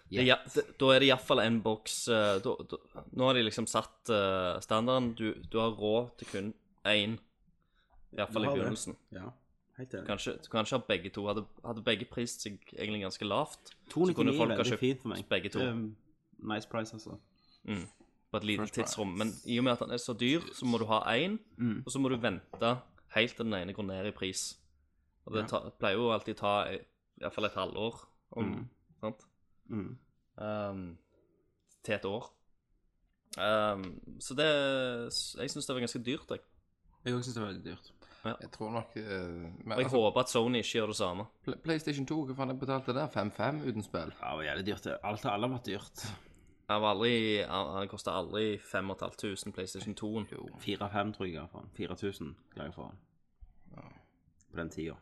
Speaker 6: Det, ja, det, da er det iallfall en boks eh, da, da, Nå har de liksom satt eh, standarden. Du, du har råd til kun én,
Speaker 5: Du
Speaker 6: iallfall i
Speaker 5: har det.
Speaker 6: begynnelsen.
Speaker 5: Ja, helt enig.
Speaker 6: Kanskje, kanskje at begge to hadde, hadde begge prist seg egentlig ganske lavt. så
Speaker 5: 299
Speaker 6: kunne
Speaker 5: er
Speaker 6: folk ha
Speaker 5: veldig
Speaker 6: kjøpt
Speaker 5: fint for meg.
Speaker 6: begge to.
Speaker 5: Det er Ehm, nice price, altså.
Speaker 6: på et lite
Speaker 7: First prize. Mm.
Speaker 6: tidsrom. Men i og med at den er så dyr, så må du ha én, og så må du vente helt til den ene går ned i pris. Og det ta, pleier jo alltid å ta i- i hvert fall et halvår, om, sant?
Speaker 5: Mm.
Speaker 6: Um, til et år. Um, så det Jeg syns det var ganske dyrt, jeg.
Speaker 5: Jeg også synes det var veldig dyrt.
Speaker 7: Jeg tror nok eh, men,
Speaker 6: Og jeg
Speaker 7: altså,
Speaker 6: håper at Sony ikke gjør det samme.
Speaker 7: Pl- PlayStation 2, hva faen jeg betalte der? 5-5 uten spill?
Speaker 5: Ja, det var jævlig dyrt. det. Alt har alle vært dyrt.
Speaker 6: Han, var aldri- han, han kosta aldri 5500 PlayStation 2-en.
Speaker 5: 4-5 tror jeg jeg ga for den. 4000 ga jeg for den. På den tida.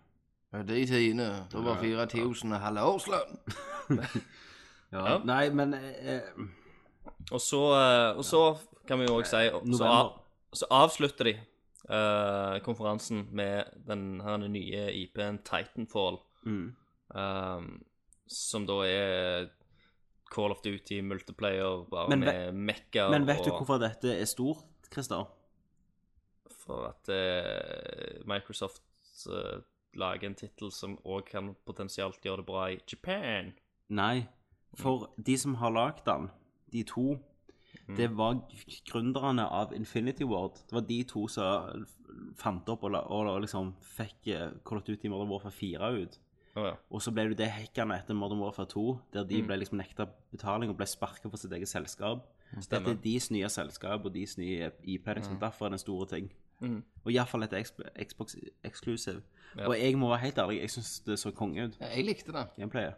Speaker 7: De tiende. Det var 4000 halve årslønn.
Speaker 5: Ja. Nei, men eh,
Speaker 6: Og så, eh, og så kan vi jo òg si så, av,
Speaker 5: Eh, November.
Speaker 6: så avslutter de eh, konferansen med den her nye IP-en Titanfall.
Speaker 5: Mm.
Speaker 6: eh, som da er Call of Duty multiplayer, bare
Speaker 5: Men
Speaker 6: med mekka
Speaker 5: Men vet du
Speaker 6: og
Speaker 5: hvorfor dette er stort, Christer?
Speaker 6: For at eh, Microsoft eh, lager en tittel som òg kan potensielt gjøre det bra i Japan.
Speaker 5: Nei. For de som har lagd den, de to, det
Speaker 6: Mm.
Speaker 5: var gründerne av Infinity Ward. Det var de to som fant opp og, la- og, og liksom fikk eh, Call of Duty Modern Warfare 4 ut.
Speaker 6: Å ja.
Speaker 5: Og så ble det det hackerne etter Modern Warfare 2, der de ble liksom nekta betaling og ble sparka for sitt eget selskap. Så dette er deres nye selskap og deres nye IP. Liksom. Derfor er det en stor ting.
Speaker 6: Mhm.
Speaker 5: Og iallfall et Xbox Exclusive. Og jeg må være helt ærlig, jeg syns det så konge ut.
Speaker 7: Ja, jeg likte det.
Speaker 5: Gameplayet.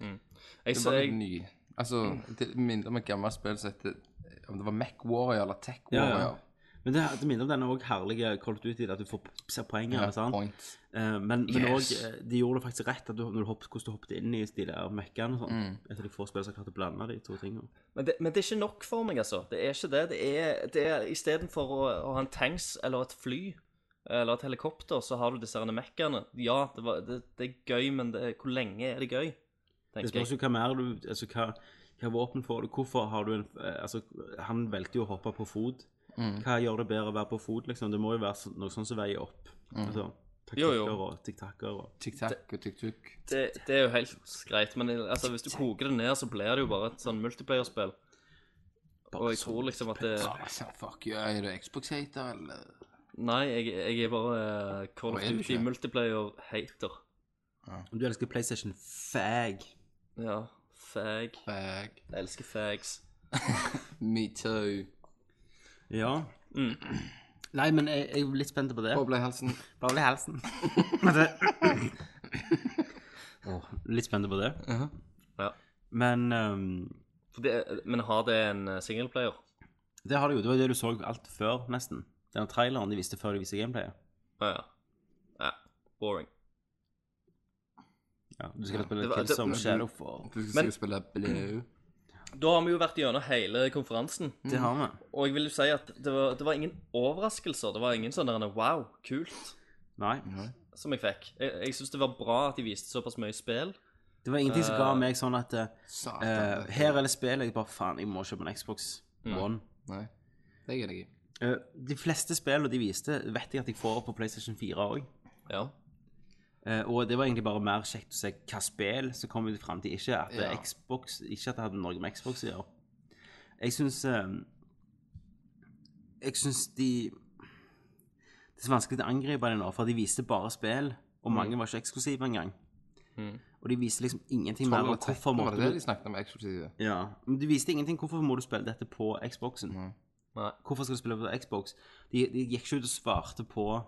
Speaker 6: Jeg,
Speaker 7: Det
Speaker 6: så,
Speaker 7: var
Speaker 6: jeg,
Speaker 7: litt ny. Altså, det minner om et gammelt spill som heter eh, Om det var Mac Warrior eller Tech
Speaker 5: Ja, ja.
Speaker 7: Warrior.
Speaker 5: Men det, det minner om denne også herlige Call of Duty, at du får se poengene. sant?
Speaker 7: Point.
Speaker 5: Eh, men men
Speaker 7: Yes.
Speaker 5: også, eh, de gjorde det faktisk rett at du, når du hoppet, hvordan du hoppet inn i de der mekkene
Speaker 7: Mm.
Speaker 5: og sånn. Etter de få spillene som klarte å blande de to tingene.
Speaker 6: Men Mm. det, men det er ikke nok for meg, altså. Det er ikke det. Det er, det er Istedenfor å, å ha en tanks eller et fly eller et helikopter, så har du disse herne mekkene. Ja, det, var, det, det er gøy, men det, hvor lenge er det gøy?
Speaker 5: Det
Speaker 6: Tenker
Speaker 5: spørs
Speaker 6: jeg.
Speaker 5: jo hva mer du Altså, hva, hva våpen får du? Hvorfor har du en eh, Altså, han valgte jo å hoppe på fot.
Speaker 6: Mm.
Speaker 5: Hva gjør det bedre å være på fot, liksom? Det må jo være så- noe sånt som veier opp. Altså,
Speaker 6: Jo,
Speaker 5: taktikker
Speaker 6: Mm. jo.
Speaker 5: og tiktakker og
Speaker 7: Tic-tac og tic-tuc.
Speaker 6: Det, det er jo helt greit, men altså, hvis du koker det ned, så blir det jo bare et sånn multiplayerspill. Og jeg
Speaker 5: sånn.
Speaker 6: tror liksom at
Speaker 5: Eh.
Speaker 6: det
Speaker 7: Altså, fuck you, er du Xbox-hater, eller?
Speaker 6: Nei, jeg, jeg er bare eh, Call of
Speaker 7: Hva er du
Speaker 6: Duty
Speaker 7: ikke?
Speaker 6: multiplayer-hater.
Speaker 5: Om du elsker PlayStation Fag
Speaker 6: Ja. Fag.
Speaker 7: Bag.
Speaker 6: Jeg elsker fags.
Speaker 7: Me too.
Speaker 5: Ja.
Speaker 6: Mm.
Speaker 5: Nei, men jeg, jeg er litt spent på det.
Speaker 7: Boble Helsen.
Speaker 5: Boble i halsen. Åh, litt spent på det.
Speaker 6: Ja.
Speaker 5: Men ehm,
Speaker 6: For det, men har det en eh, singleplayer?
Speaker 5: det har det jo. Det var jo det du så alt før, nesten. Den traileren de viste før de viste gameplayet.
Speaker 6: Å ja. ja. Boring.
Speaker 5: Ja, du skal spille
Speaker 6: Det var- det-
Speaker 5: Killzone
Speaker 6: men-
Speaker 5: Shadow for
Speaker 7: Du skal sikkert spille Blue.
Speaker 6: Da har vi jo vært gjennom hele konferansen,
Speaker 5: Det har vi.
Speaker 6: og jeg vil jo si at det var, det var ingen overraskelser. Det var ingen sånn der wow, kult,
Speaker 5: Nei.
Speaker 6: som jeg fikk. Jeg, jeg syns det var bra at de viste såpass mye spill.
Speaker 5: Det var ingenting som ga meg sånn at eh,
Speaker 7: Satan. det-
Speaker 5: Her er det spill jeg bare Faen, jeg må kjøpe en Xbox One.
Speaker 7: Nei, det er jeg ikke.
Speaker 5: Eh, de fleste spillene de viste, vet jeg at jeg får på PlayStation 4 òg.
Speaker 6: Ja.
Speaker 5: Eh, og det var egentlig bare mer kjekt å se hva spill som kom ut fram til. Ikke at det
Speaker 7: Ja.
Speaker 5: Xbox, ikke at det hadde noe med Xbox å gjøre. Jeg syns Jeg syns de Det er så vanskelig å angripe dem nå, for de viste bare spill,
Speaker 7: Mm.
Speaker 5: og mange var ikke eksklusive engang. Og de viste liksom ingenting mer om hvorfor
Speaker 7: Var Mm.
Speaker 5: måtte
Speaker 7: det det
Speaker 5: du
Speaker 7: de snakket om eksklusive?
Speaker 5: ja, men de viste ingenting hvorfor må du spille dette på Xboxen.
Speaker 6: Nei.
Speaker 5: Hvorfor skal du spille på Xbox? De, de gikk ikke ut og svarte på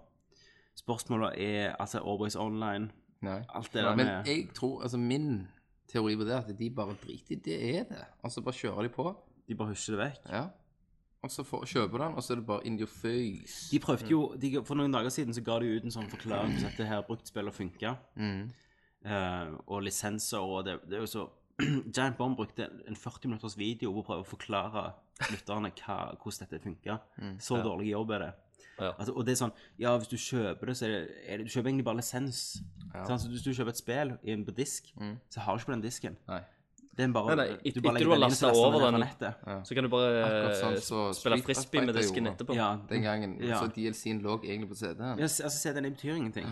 Speaker 5: spørsmålet er altså Always Online.
Speaker 7: Nei.
Speaker 5: Alt det
Speaker 7: Nei,
Speaker 5: der
Speaker 7: men
Speaker 5: med
Speaker 7: jeg tror, altså min teori på det, er at de bare driter i det er det. Og så bare kjører de på.
Speaker 5: De bare husjer det vekk.
Speaker 7: Ja. Og så får, kjøper du den, og så er det bare in your face.
Speaker 5: De prøvde jo, de, For noen dager siden så ga de ut en sånn forklaring på at dette her bruktspillet funka. Eh, og lisenser og det, det er jo så Giant Bomb brukte en 40 minutters video på å prøve å forklare lytterne hva, hvordan dette funker. så dårlig jobb er det.
Speaker 6: Mm, Ja.
Speaker 5: Altså, og det er sånn Ja, hvis du kjøper det, så er det, er det Du kjøper egentlig bare lisens. Sant? så hvis du kjøper et spill i en- på disk, så har du ikke på den disken.
Speaker 7: Nei.
Speaker 5: Den bare,
Speaker 6: Mm. Nei, nei, et- etter
Speaker 5: legger
Speaker 6: du har
Speaker 5: den inn, så
Speaker 6: lastet
Speaker 5: laster
Speaker 6: over
Speaker 5: den ned
Speaker 6: den.
Speaker 5: fra nettet.
Speaker 6: Så kan du bare
Speaker 7: Akkurat sånn
Speaker 6: eh,
Speaker 7: så
Speaker 6: spille
Speaker 7: Street
Speaker 6: frisbee med
Speaker 7: Fighter
Speaker 6: disken
Speaker 7: gjorde.
Speaker 6: etterpå.
Speaker 5: Ja,
Speaker 7: Den gangen.
Speaker 5: Ja.
Speaker 7: Så DLC-en lå egentlig på CD-en.
Speaker 5: Ja, s- altså, se, den betyr ingenting.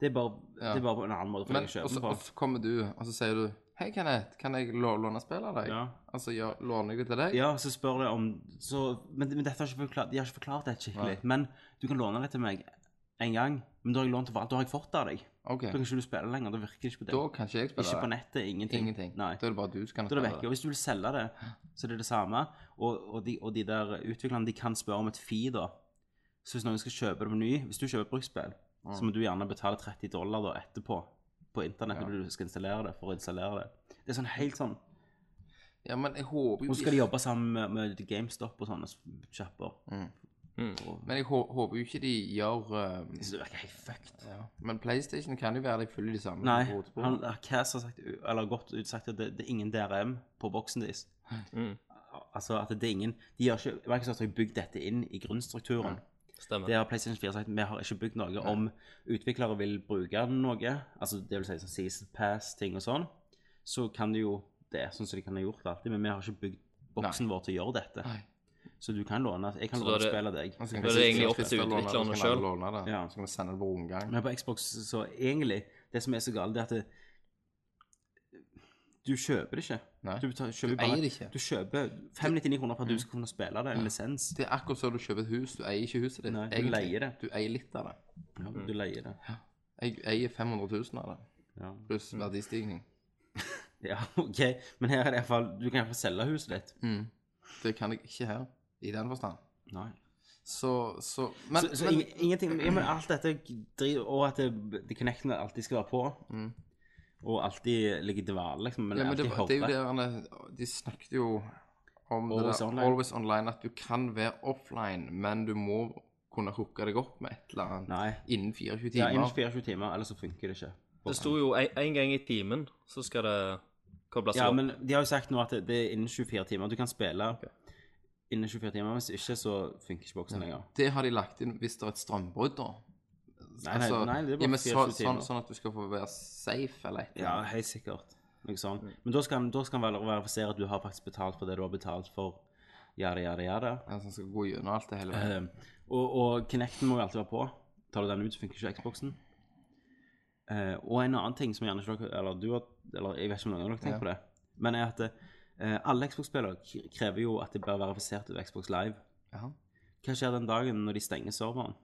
Speaker 5: Det er bare, det er bare på en annen måte for
Speaker 7: Men,
Speaker 5: deg å kjøpe
Speaker 7: og så
Speaker 5: den på.
Speaker 7: og så kommer du, og så sier du Hei, Kenneth, kan jeg lå- låne spill av deg?
Speaker 5: Ja.
Speaker 7: Altså, ja, låner jeg det til deg?
Speaker 5: Ja, så spør de om så, men, men dette har ikke forklart, De har ikke forklart det skikkelig. Men du kan låne det til meg en gang. Men da har jeg lånt det for alt. Da har jeg fått det av deg.
Speaker 7: Ok,
Speaker 5: Da kan ikke du spille lenger. Da virker det ikke på
Speaker 7: da
Speaker 5: deg.
Speaker 7: kan ikke jeg spille
Speaker 5: Ikke på
Speaker 7: det.
Speaker 5: nettet. Ingenting.
Speaker 7: Ingenting.
Speaker 5: Nei.
Speaker 7: Da er det bare du som kan
Speaker 5: Da er det
Speaker 7: spille
Speaker 5: vekk. Og hvis du vil selge det, så er det det samme. Og, og, de, og de der utviklerne de kan spørre om et fee, da. Så hvis noen skal kjøpe det på ny Hvis du kjøper et bruksspill, så må du gjerne betale 30 dollar da etterpå på internett når du skal installere det, for å installere det. Det er sånn helt sånn
Speaker 7: Ja, men jeg håper jo
Speaker 5: Og så skal de jobbe sammen med, med GameStop og sånne sjapper.
Speaker 6: Mm,
Speaker 7: Men jeg hå- håper jo ikke de gjør eh,
Speaker 5: Så det virker helt fucked.
Speaker 7: ja. Men PlayStation kan jo være de følger de samme
Speaker 5: Nei,
Speaker 7: rotesporene.
Speaker 5: han, Cass har sagt, eller godt ut sagt at det, det er ingen DRM på boksen deres. Altså at det er ingen De har ikke Microsoft har jo bygd dette inn i grunnstrukturen.
Speaker 6: Stemmer.
Speaker 5: Det har PlayStation 4 sagt. Vi har ikke bygd noe om utviklere vil bruke noe, altså det vil si sånn Season Pass-ting og sånn, så kan de jo det, sånn som de kan ha gjort det alltid, men vi har ikke bygd boksen vår til å gjøre dette.
Speaker 7: Nei.
Speaker 5: Så du kan låne Jeg kan
Speaker 6: Så da er
Speaker 5: låne
Speaker 6: det-
Speaker 5: spill av deg.
Speaker 7: Og så Altså, kan
Speaker 6: Da er
Speaker 7: de
Speaker 6: det
Speaker 7: sitte
Speaker 6: egentlig opp til
Speaker 7: og låne det,
Speaker 6: utviklerne
Speaker 7: Så kan
Speaker 6: selv.
Speaker 7: alle låne det.
Speaker 5: Ja.
Speaker 7: Så kan vi sende det på omgang.
Speaker 5: Men på Xbox, så egentlig Det som er så galt, det er at det, du kjøper det ikke.
Speaker 7: Nei.
Speaker 5: Du, betaler, kjøper
Speaker 7: eier det ikke.
Speaker 5: Du kjøper 599 kroner for at du skal kunne spille det, en lisens.
Speaker 7: Det er akkurat som du kjøper et hus. Du eier ikke huset ditt.
Speaker 5: Nei, du
Speaker 7: egentlig.
Speaker 5: leier det.
Speaker 7: Du eier litt av det.
Speaker 5: Ja, du leier det.
Speaker 7: Jeg eier 500 000 av det,
Speaker 5: Ja.
Speaker 7: pluss verdistigning.
Speaker 5: ja, OK. Men her er det iallfall Du kan iallfall selge huset ditt.
Speaker 7: Mm. Det kan jeg ikke her, i den forstand.
Speaker 5: Nei.
Speaker 7: Så, så Men,
Speaker 5: så så
Speaker 7: men
Speaker 5: ing- ingenting ja, men alt dette driver Og at det, det connectene alltid skal være på.
Speaker 7: Mm.
Speaker 5: Og alltid ligger i dvale, liksom. Men,
Speaker 7: ja, men det,
Speaker 5: alltid
Speaker 7: var- det er jo
Speaker 5: hører.
Speaker 7: det han- De snakket jo om
Speaker 5: Always
Speaker 7: det der,
Speaker 5: online.
Speaker 7: Always Online, at du kan være offline, men du må kunne hooke deg opp med et eller annet
Speaker 5: Nei.
Speaker 7: innen 24
Speaker 5: Ja,
Speaker 7: timer.
Speaker 5: innen 24 timer, ellers så funker det ikke.
Speaker 6: Det sto jo en, en gang i timen, så skal det kobles
Speaker 7: Altså-
Speaker 5: Ja,
Speaker 6: opp.
Speaker 5: men de har jo sagt nå at det, det er innen 24 timer. Du kan spille innen 24 timer, hvis ikke så funker ikke boksen lenger.
Speaker 7: Det har de lagt inn hvis det er et strømbrudd, da. Altså,
Speaker 5: Nei, nei, nei, det er bare
Speaker 7: ja, men så,
Speaker 5: 24
Speaker 7: sånn,
Speaker 5: timer.
Speaker 7: sånn at du skal få være safe, eller et
Speaker 5: Ja,
Speaker 7: eller annet.
Speaker 5: helt sikkert. Noe sånt.
Speaker 7: Mm.
Speaker 5: Men da skal, da skal han vel verifisere at du har faktisk betalt for det du har betalt for. Jada, jada, jada.
Speaker 7: Ja, Som Altså, skal gå gjennom alt det hele veien.
Speaker 5: Eh, og, og Kinecten må jo alltid være på. Tar du den ut, så funker ikke Xboxen. Eh, og en annen ting som gjerne ikke dere Eller du har Eller jeg vet ikke om noen av dere tenker på det. Men er at eh, alle Xbox-spillere k- krever jo at det blir verifisert ved Xbox Live.
Speaker 7: Ja.
Speaker 5: Hva skjer den dagen når de stenger serveren?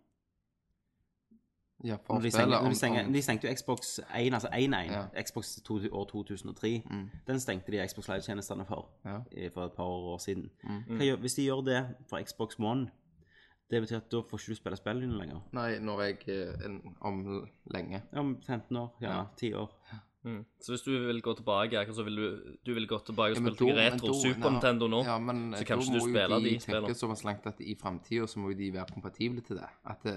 Speaker 7: Ja, for
Speaker 5: Når de,
Speaker 7: spillet
Speaker 5: stenger,
Speaker 7: om-
Speaker 5: når de, stenger,
Speaker 7: om-
Speaker 5: de stengte jo Xbox 1, altså 1.1,
Speaker 7: Ja. Mm.
Speaker 5: Xbox to, år 2003. Den stengte de Xbox Live-tjenestene for
Speaker 7: Ja.
Speaker 5: eh, for et par år siden.
Speaker 7: mm.
Speaker 5: Hva gjør, hvis de gjør det for Xbox One, det betyr at da får ikke du spille spillene dine lenger.
Speaker 7: Nei, når jeg eh, en, Om lenge.
Speaker 5: Ja, Om 15 år, gjerne 10 år.
Speaker 6: Mm. Så hvis du vil gå tilbake, akkurat så vil du, du vil gå tilbake og
Speaker 7: Ja, men
Speaker 6: spille
Speaker 7: da- men
Speaker 6: retro
Speaker 7: da-
Speaker 6: Super
Speaker 7: ja,
Speaker 6: Nintendo nå,
Speaker 7: Ja, men
Speaker 6: så
Speaker 7: da
Speaker 6: kan ikke du
Speaker 7: må jo
Speaker 6: spille de
Speaker 7: de tenke
Speaker 6: spillene.
Speaker 7: såpass langt at i fremtiden så må jo de være kompatible til det. At eh,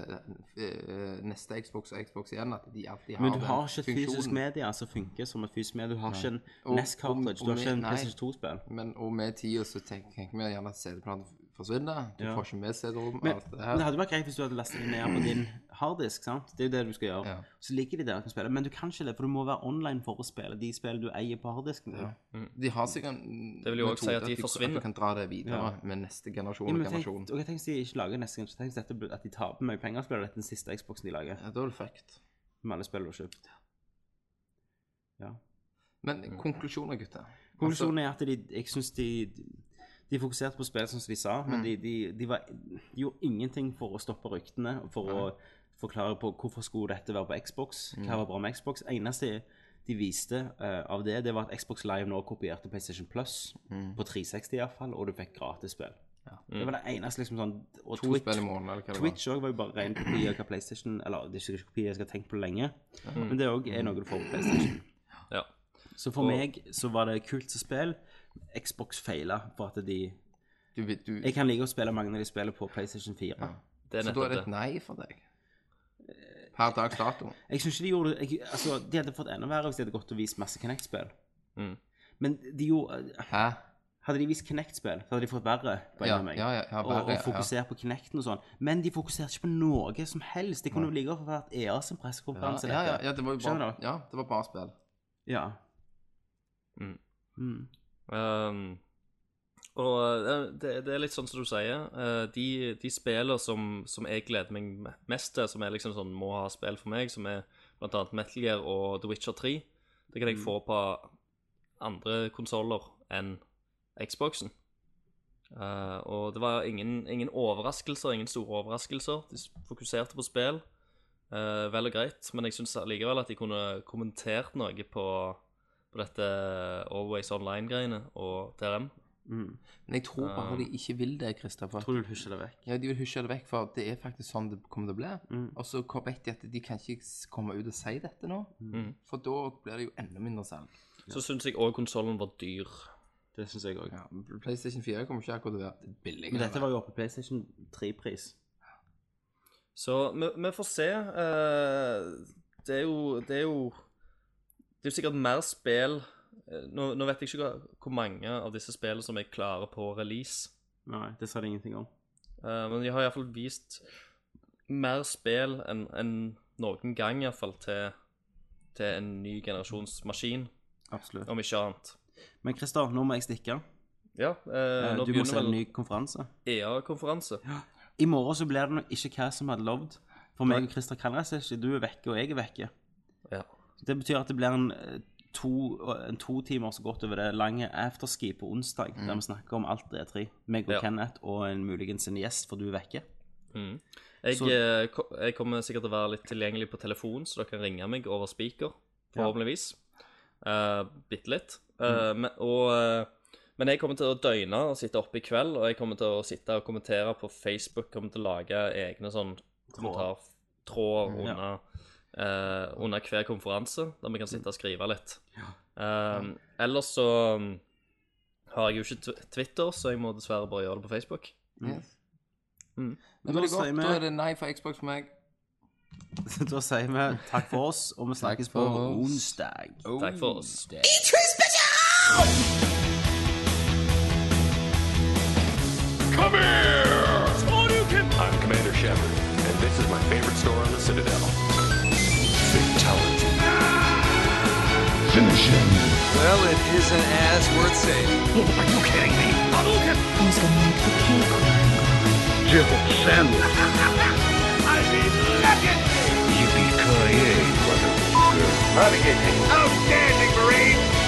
Speaker 7: eh, neste Xbox og Xbox igjen, at de alltid har
Speaker 5: Men du
Speaker 7: den
Speaker 5: har ikke et fysisk
Speaker 7: funksjonen.
Speaker 5: medie som funker som et fysisk medie. Du har ikke en
Speaker 7: Og-
Speaker 5: NES-cartridge,
Speaker 7: og-
Speaker 5: du har
Speaker 7: og
Speaker 5: ikke en
Speaker 7: med- nei.
Speaker 5: PlayStation 2-spill.
Speaker 7: Men og med tida så tenker tenker vi gjerne at CD-planen forsvinner. Du
Speaker 5: Ja.
Speaker 7: får ikke med CD-rom.
Speaker 5: Men,
Speaker 7: alt det
Speaker 5: men det
Speaker 7: her.
Speaker 5: hadde vært greit hvis du hadde lastet det ned på din harddisk. sant? Det er jo det du skal gjøre.
Speaker 7: Ja.
Speaker 5: Så ligger de der og kan spille, men du kan ikke det, for du må være online for å spille de spillene du eier på harddisken. din.
Speaker 7: De har sikkert
Speaker 6: Det vil jo også si at de forsvinner.
Speaker 7: At du kan dra det videre med neste
Speaker 5: Ja,
Speaker 7: generasjon og
Speaker 5: men tenk,
Speaker 7: generasjon.
Speaker 5: og jeg tenker hvis de ikke lager neste gang, så tenk hvis dette blir- at de taper mye penger og spiller dette den siste Xboxen de lager,
Speaker 7: Ja, da er du fucked.
Speaker 5: med alle spillene du har kjøpt.
Speaker 7: Men
Speaker 6: Mm.
Speaker 7: konklusjoner, gutter.
Speaker 5: Konklusjonen er
Speaker 7: Altså-
Speaker 5: at de, jeg synes de De fokuserte på spill, som de sa,
Speaker 7: Mm.
Speaker 5: men de, de, de, var, de gjorde ingenting for å stoppe ryktene. og For å forklare på hvorfor skulle dette være på Xbox,
Speaker 7: Mm.
Speaker 5: hva var bra med Xbox. Eneste de viste eh, av det, det var at Xbox Live nå kopierte PlayStation Plus.
Speaker 7: Mm.
Speaker 5: På 360 iallfall, og du fikk gratis spill. Det var det eneste liksom sånn Og
Speaker 7: Altså, To spill i måneden, eller hva det var.
Speaker 5: Twitch også var jo bare ren kopi av hva PlayStation Eller det er ikke kopi jeg skal ha tenkt på lenge, men det òg er noe du får på PlayStation.
Speaker 6: Ja.
Speaker 5: Så for meg så var det kult som spill. Xbox feila for at de
Speaker 7: Du, vet- du,
Speaker 5: Jeg kan like å spille mange av de spiller på PlayStation 4.
Speaker 6: det er
Speaker 7: så da er
Speaker 6: nettopp
Speaker 7: det
Speaker 6: det.
Speaker 7: et nei for deg. Per dags dato.
Speaker 5: Jeg synes ikke de gjorde jeg, Altså, de hadde fått enda verre hvis de hadde gått og vist masse Connect-spill.
Speaker 6: Mm.
Speaker 5: Men de gjorde
Speaker 7: Hæ?
Speaker 5: Hadde de vist Kinect-spill, så hadde de fått verre. på en
Speaker 7: Ja,
Speaker 5: av meg.
Speaker 7: ja, ja, ja,
Speaker 5: og,
Speaker 7: verre,
Speaker 5: og fokusert på Kinecten og sånn. Men de fokuserte ikke på noe som helst. Det kunne jo like godt vært EA sin
Speaker 7: Ja,
Speaker 5: pressekonferanse.
Speaker 7: ja, ja,
Speaker 5: dette.
Speaker 7: ja, det var jo
Speaker 5: Skjønner
Speaker 7: bare, ja,
Speaker 5: dere?
Speaker 7: det var bare spill.
Speaker 5: ja.
Speaker 6: Mm.
Speaker 5: Mm.
Speaker 6: Um, og eh, det, det er litt sånn som du sier. eh, De, de spillene som, som jeg gleder meg me- mest til, som er liksom sånn må ha spill for meg, som er blant annet Metal Gear og The Witcher 3, det kan jeg få på andre konsoller enn Xboxen. Eh, og det var ingen, ingen overraskelser, ingen store overraskelser. De s- fokuserte på spill. eh, vel og greit, men jeg syns likevel at de kunne kommentert noe på, på dette Always Online-greiene og TRM.
Speaker 5: Mm.
Speaker 7: Men jeg tror bare de ikke vil det, Kristoffer.
Speaker 5: Tror du vil husje det vekk?
Speaker 7: Ja, de vil husje det vekk, for det er faktisk sånn det kommer til å bli.
Speaker 5: Mm.
Speaker 7: Og så kom- vet de at de kan ikke s- komme ut og si dette nå, for da blir det jo enda mindre salg.
Speaker 6: Mm. Så syns jeg òg konsollen var dyr.
Speaker 5: Det syns jeg òg.
Speaker 7: Ja, PlayStation 4 kommer ikke akkurat til å være billigere.
Speaker 5: Men dette var jo oppe på PlayStation 3-pris.
Speaker 6: Så vi, vi får se. eh, det er jo Det er jo Det er jo sikkert mer spill Eh, Nå, nå vet jeg ikke hva- hvor mange av disse spillene som er klare på release.
Speaker 5: Nei, det sa de ingenting om.
Speaker 6: Eh, men de har iallfall vist mer spill enn enn noen gang, iallfall, til, til en ny generasjons maskin,
Speaker 5: Absolutt.
Speaker 6: om ikke annet.
Speaker 5: Men Christer, nå må jeg stikke.
Speaker 6: Ja, eh,
Speaker 5: Eh,
Speaker 6: nå
Speaker 5: Du må se
Speaker 6: begynner
Speaker 5: en
Speaker 6: vel E
Speaker 5: ny konferanse.
Speaker 6: EA-konferanse.
Speaker 5: I morgen så blir det nok ikke hva som hadde lovd. For meg og Christer kan reise ikke. Du er vekke, og jeg er vekke.
Speaker 6: Ja.
Speaker 5: Det betyr at det blir en eh, to, en to timer så godt over det lange afterski på onsdag,
Speaker 7: Mm.
Speaker 5: der vi snakker om alt E3. Meg og
Speaker 6: Ja.
Speaker 5: Kenneth og en muligens en gjest, for du er vekke.
Speaker 6: Jeg,
Speaker 5: Så-
Speaker 6: eh, ko- jeg kommer sikkert til å være litt tilgjengelig på telefon, så dere kan ringe meg over speaker, forhåpentligvis. Eh, Bitte litt. Eh, men, og, eh, men jeg kommer til å døgne og sitte oppe i kveld, og jeg kommer til å sitte og kommentere på Facebook, kommer til å lage egne sånn kommentartråder under, eh, under hver konferanse, der vi kan sitte og skrive litt. Eh, ellers så mm, har jeg jo ikke tw- Twitter, så jeg må dessverre bare gjøre det på Facebook.
Speaker 7: Yes.
Speaker 6: Mm.
Speaker 7: Men veldig
Speaker 5: Da
Speaker 7: godt.
Speaker 5: sier vi-
Speaker 7: Da er det nei for Xbox for meg.
Speaker 5: da sier vi takk for oss, og vi snakkes på
Speaker 7: for oss.
Speaker 5: onsdag.
Speaker 6: Takk for oss.
Speaker 1: Come here! I'm Commander Shepard, and this is my favorite store on the Citadel. Fatality. Finish him.
Speaker 2: Well, it isn't as worth saving.
Speaker 3: Are you kidding me? Bubblegum? Jill Sandler. I mean, look at me.
Speaker 1: Yippee-ki-yay, motherfucker.
Speaker 3: Outstanding, Marine.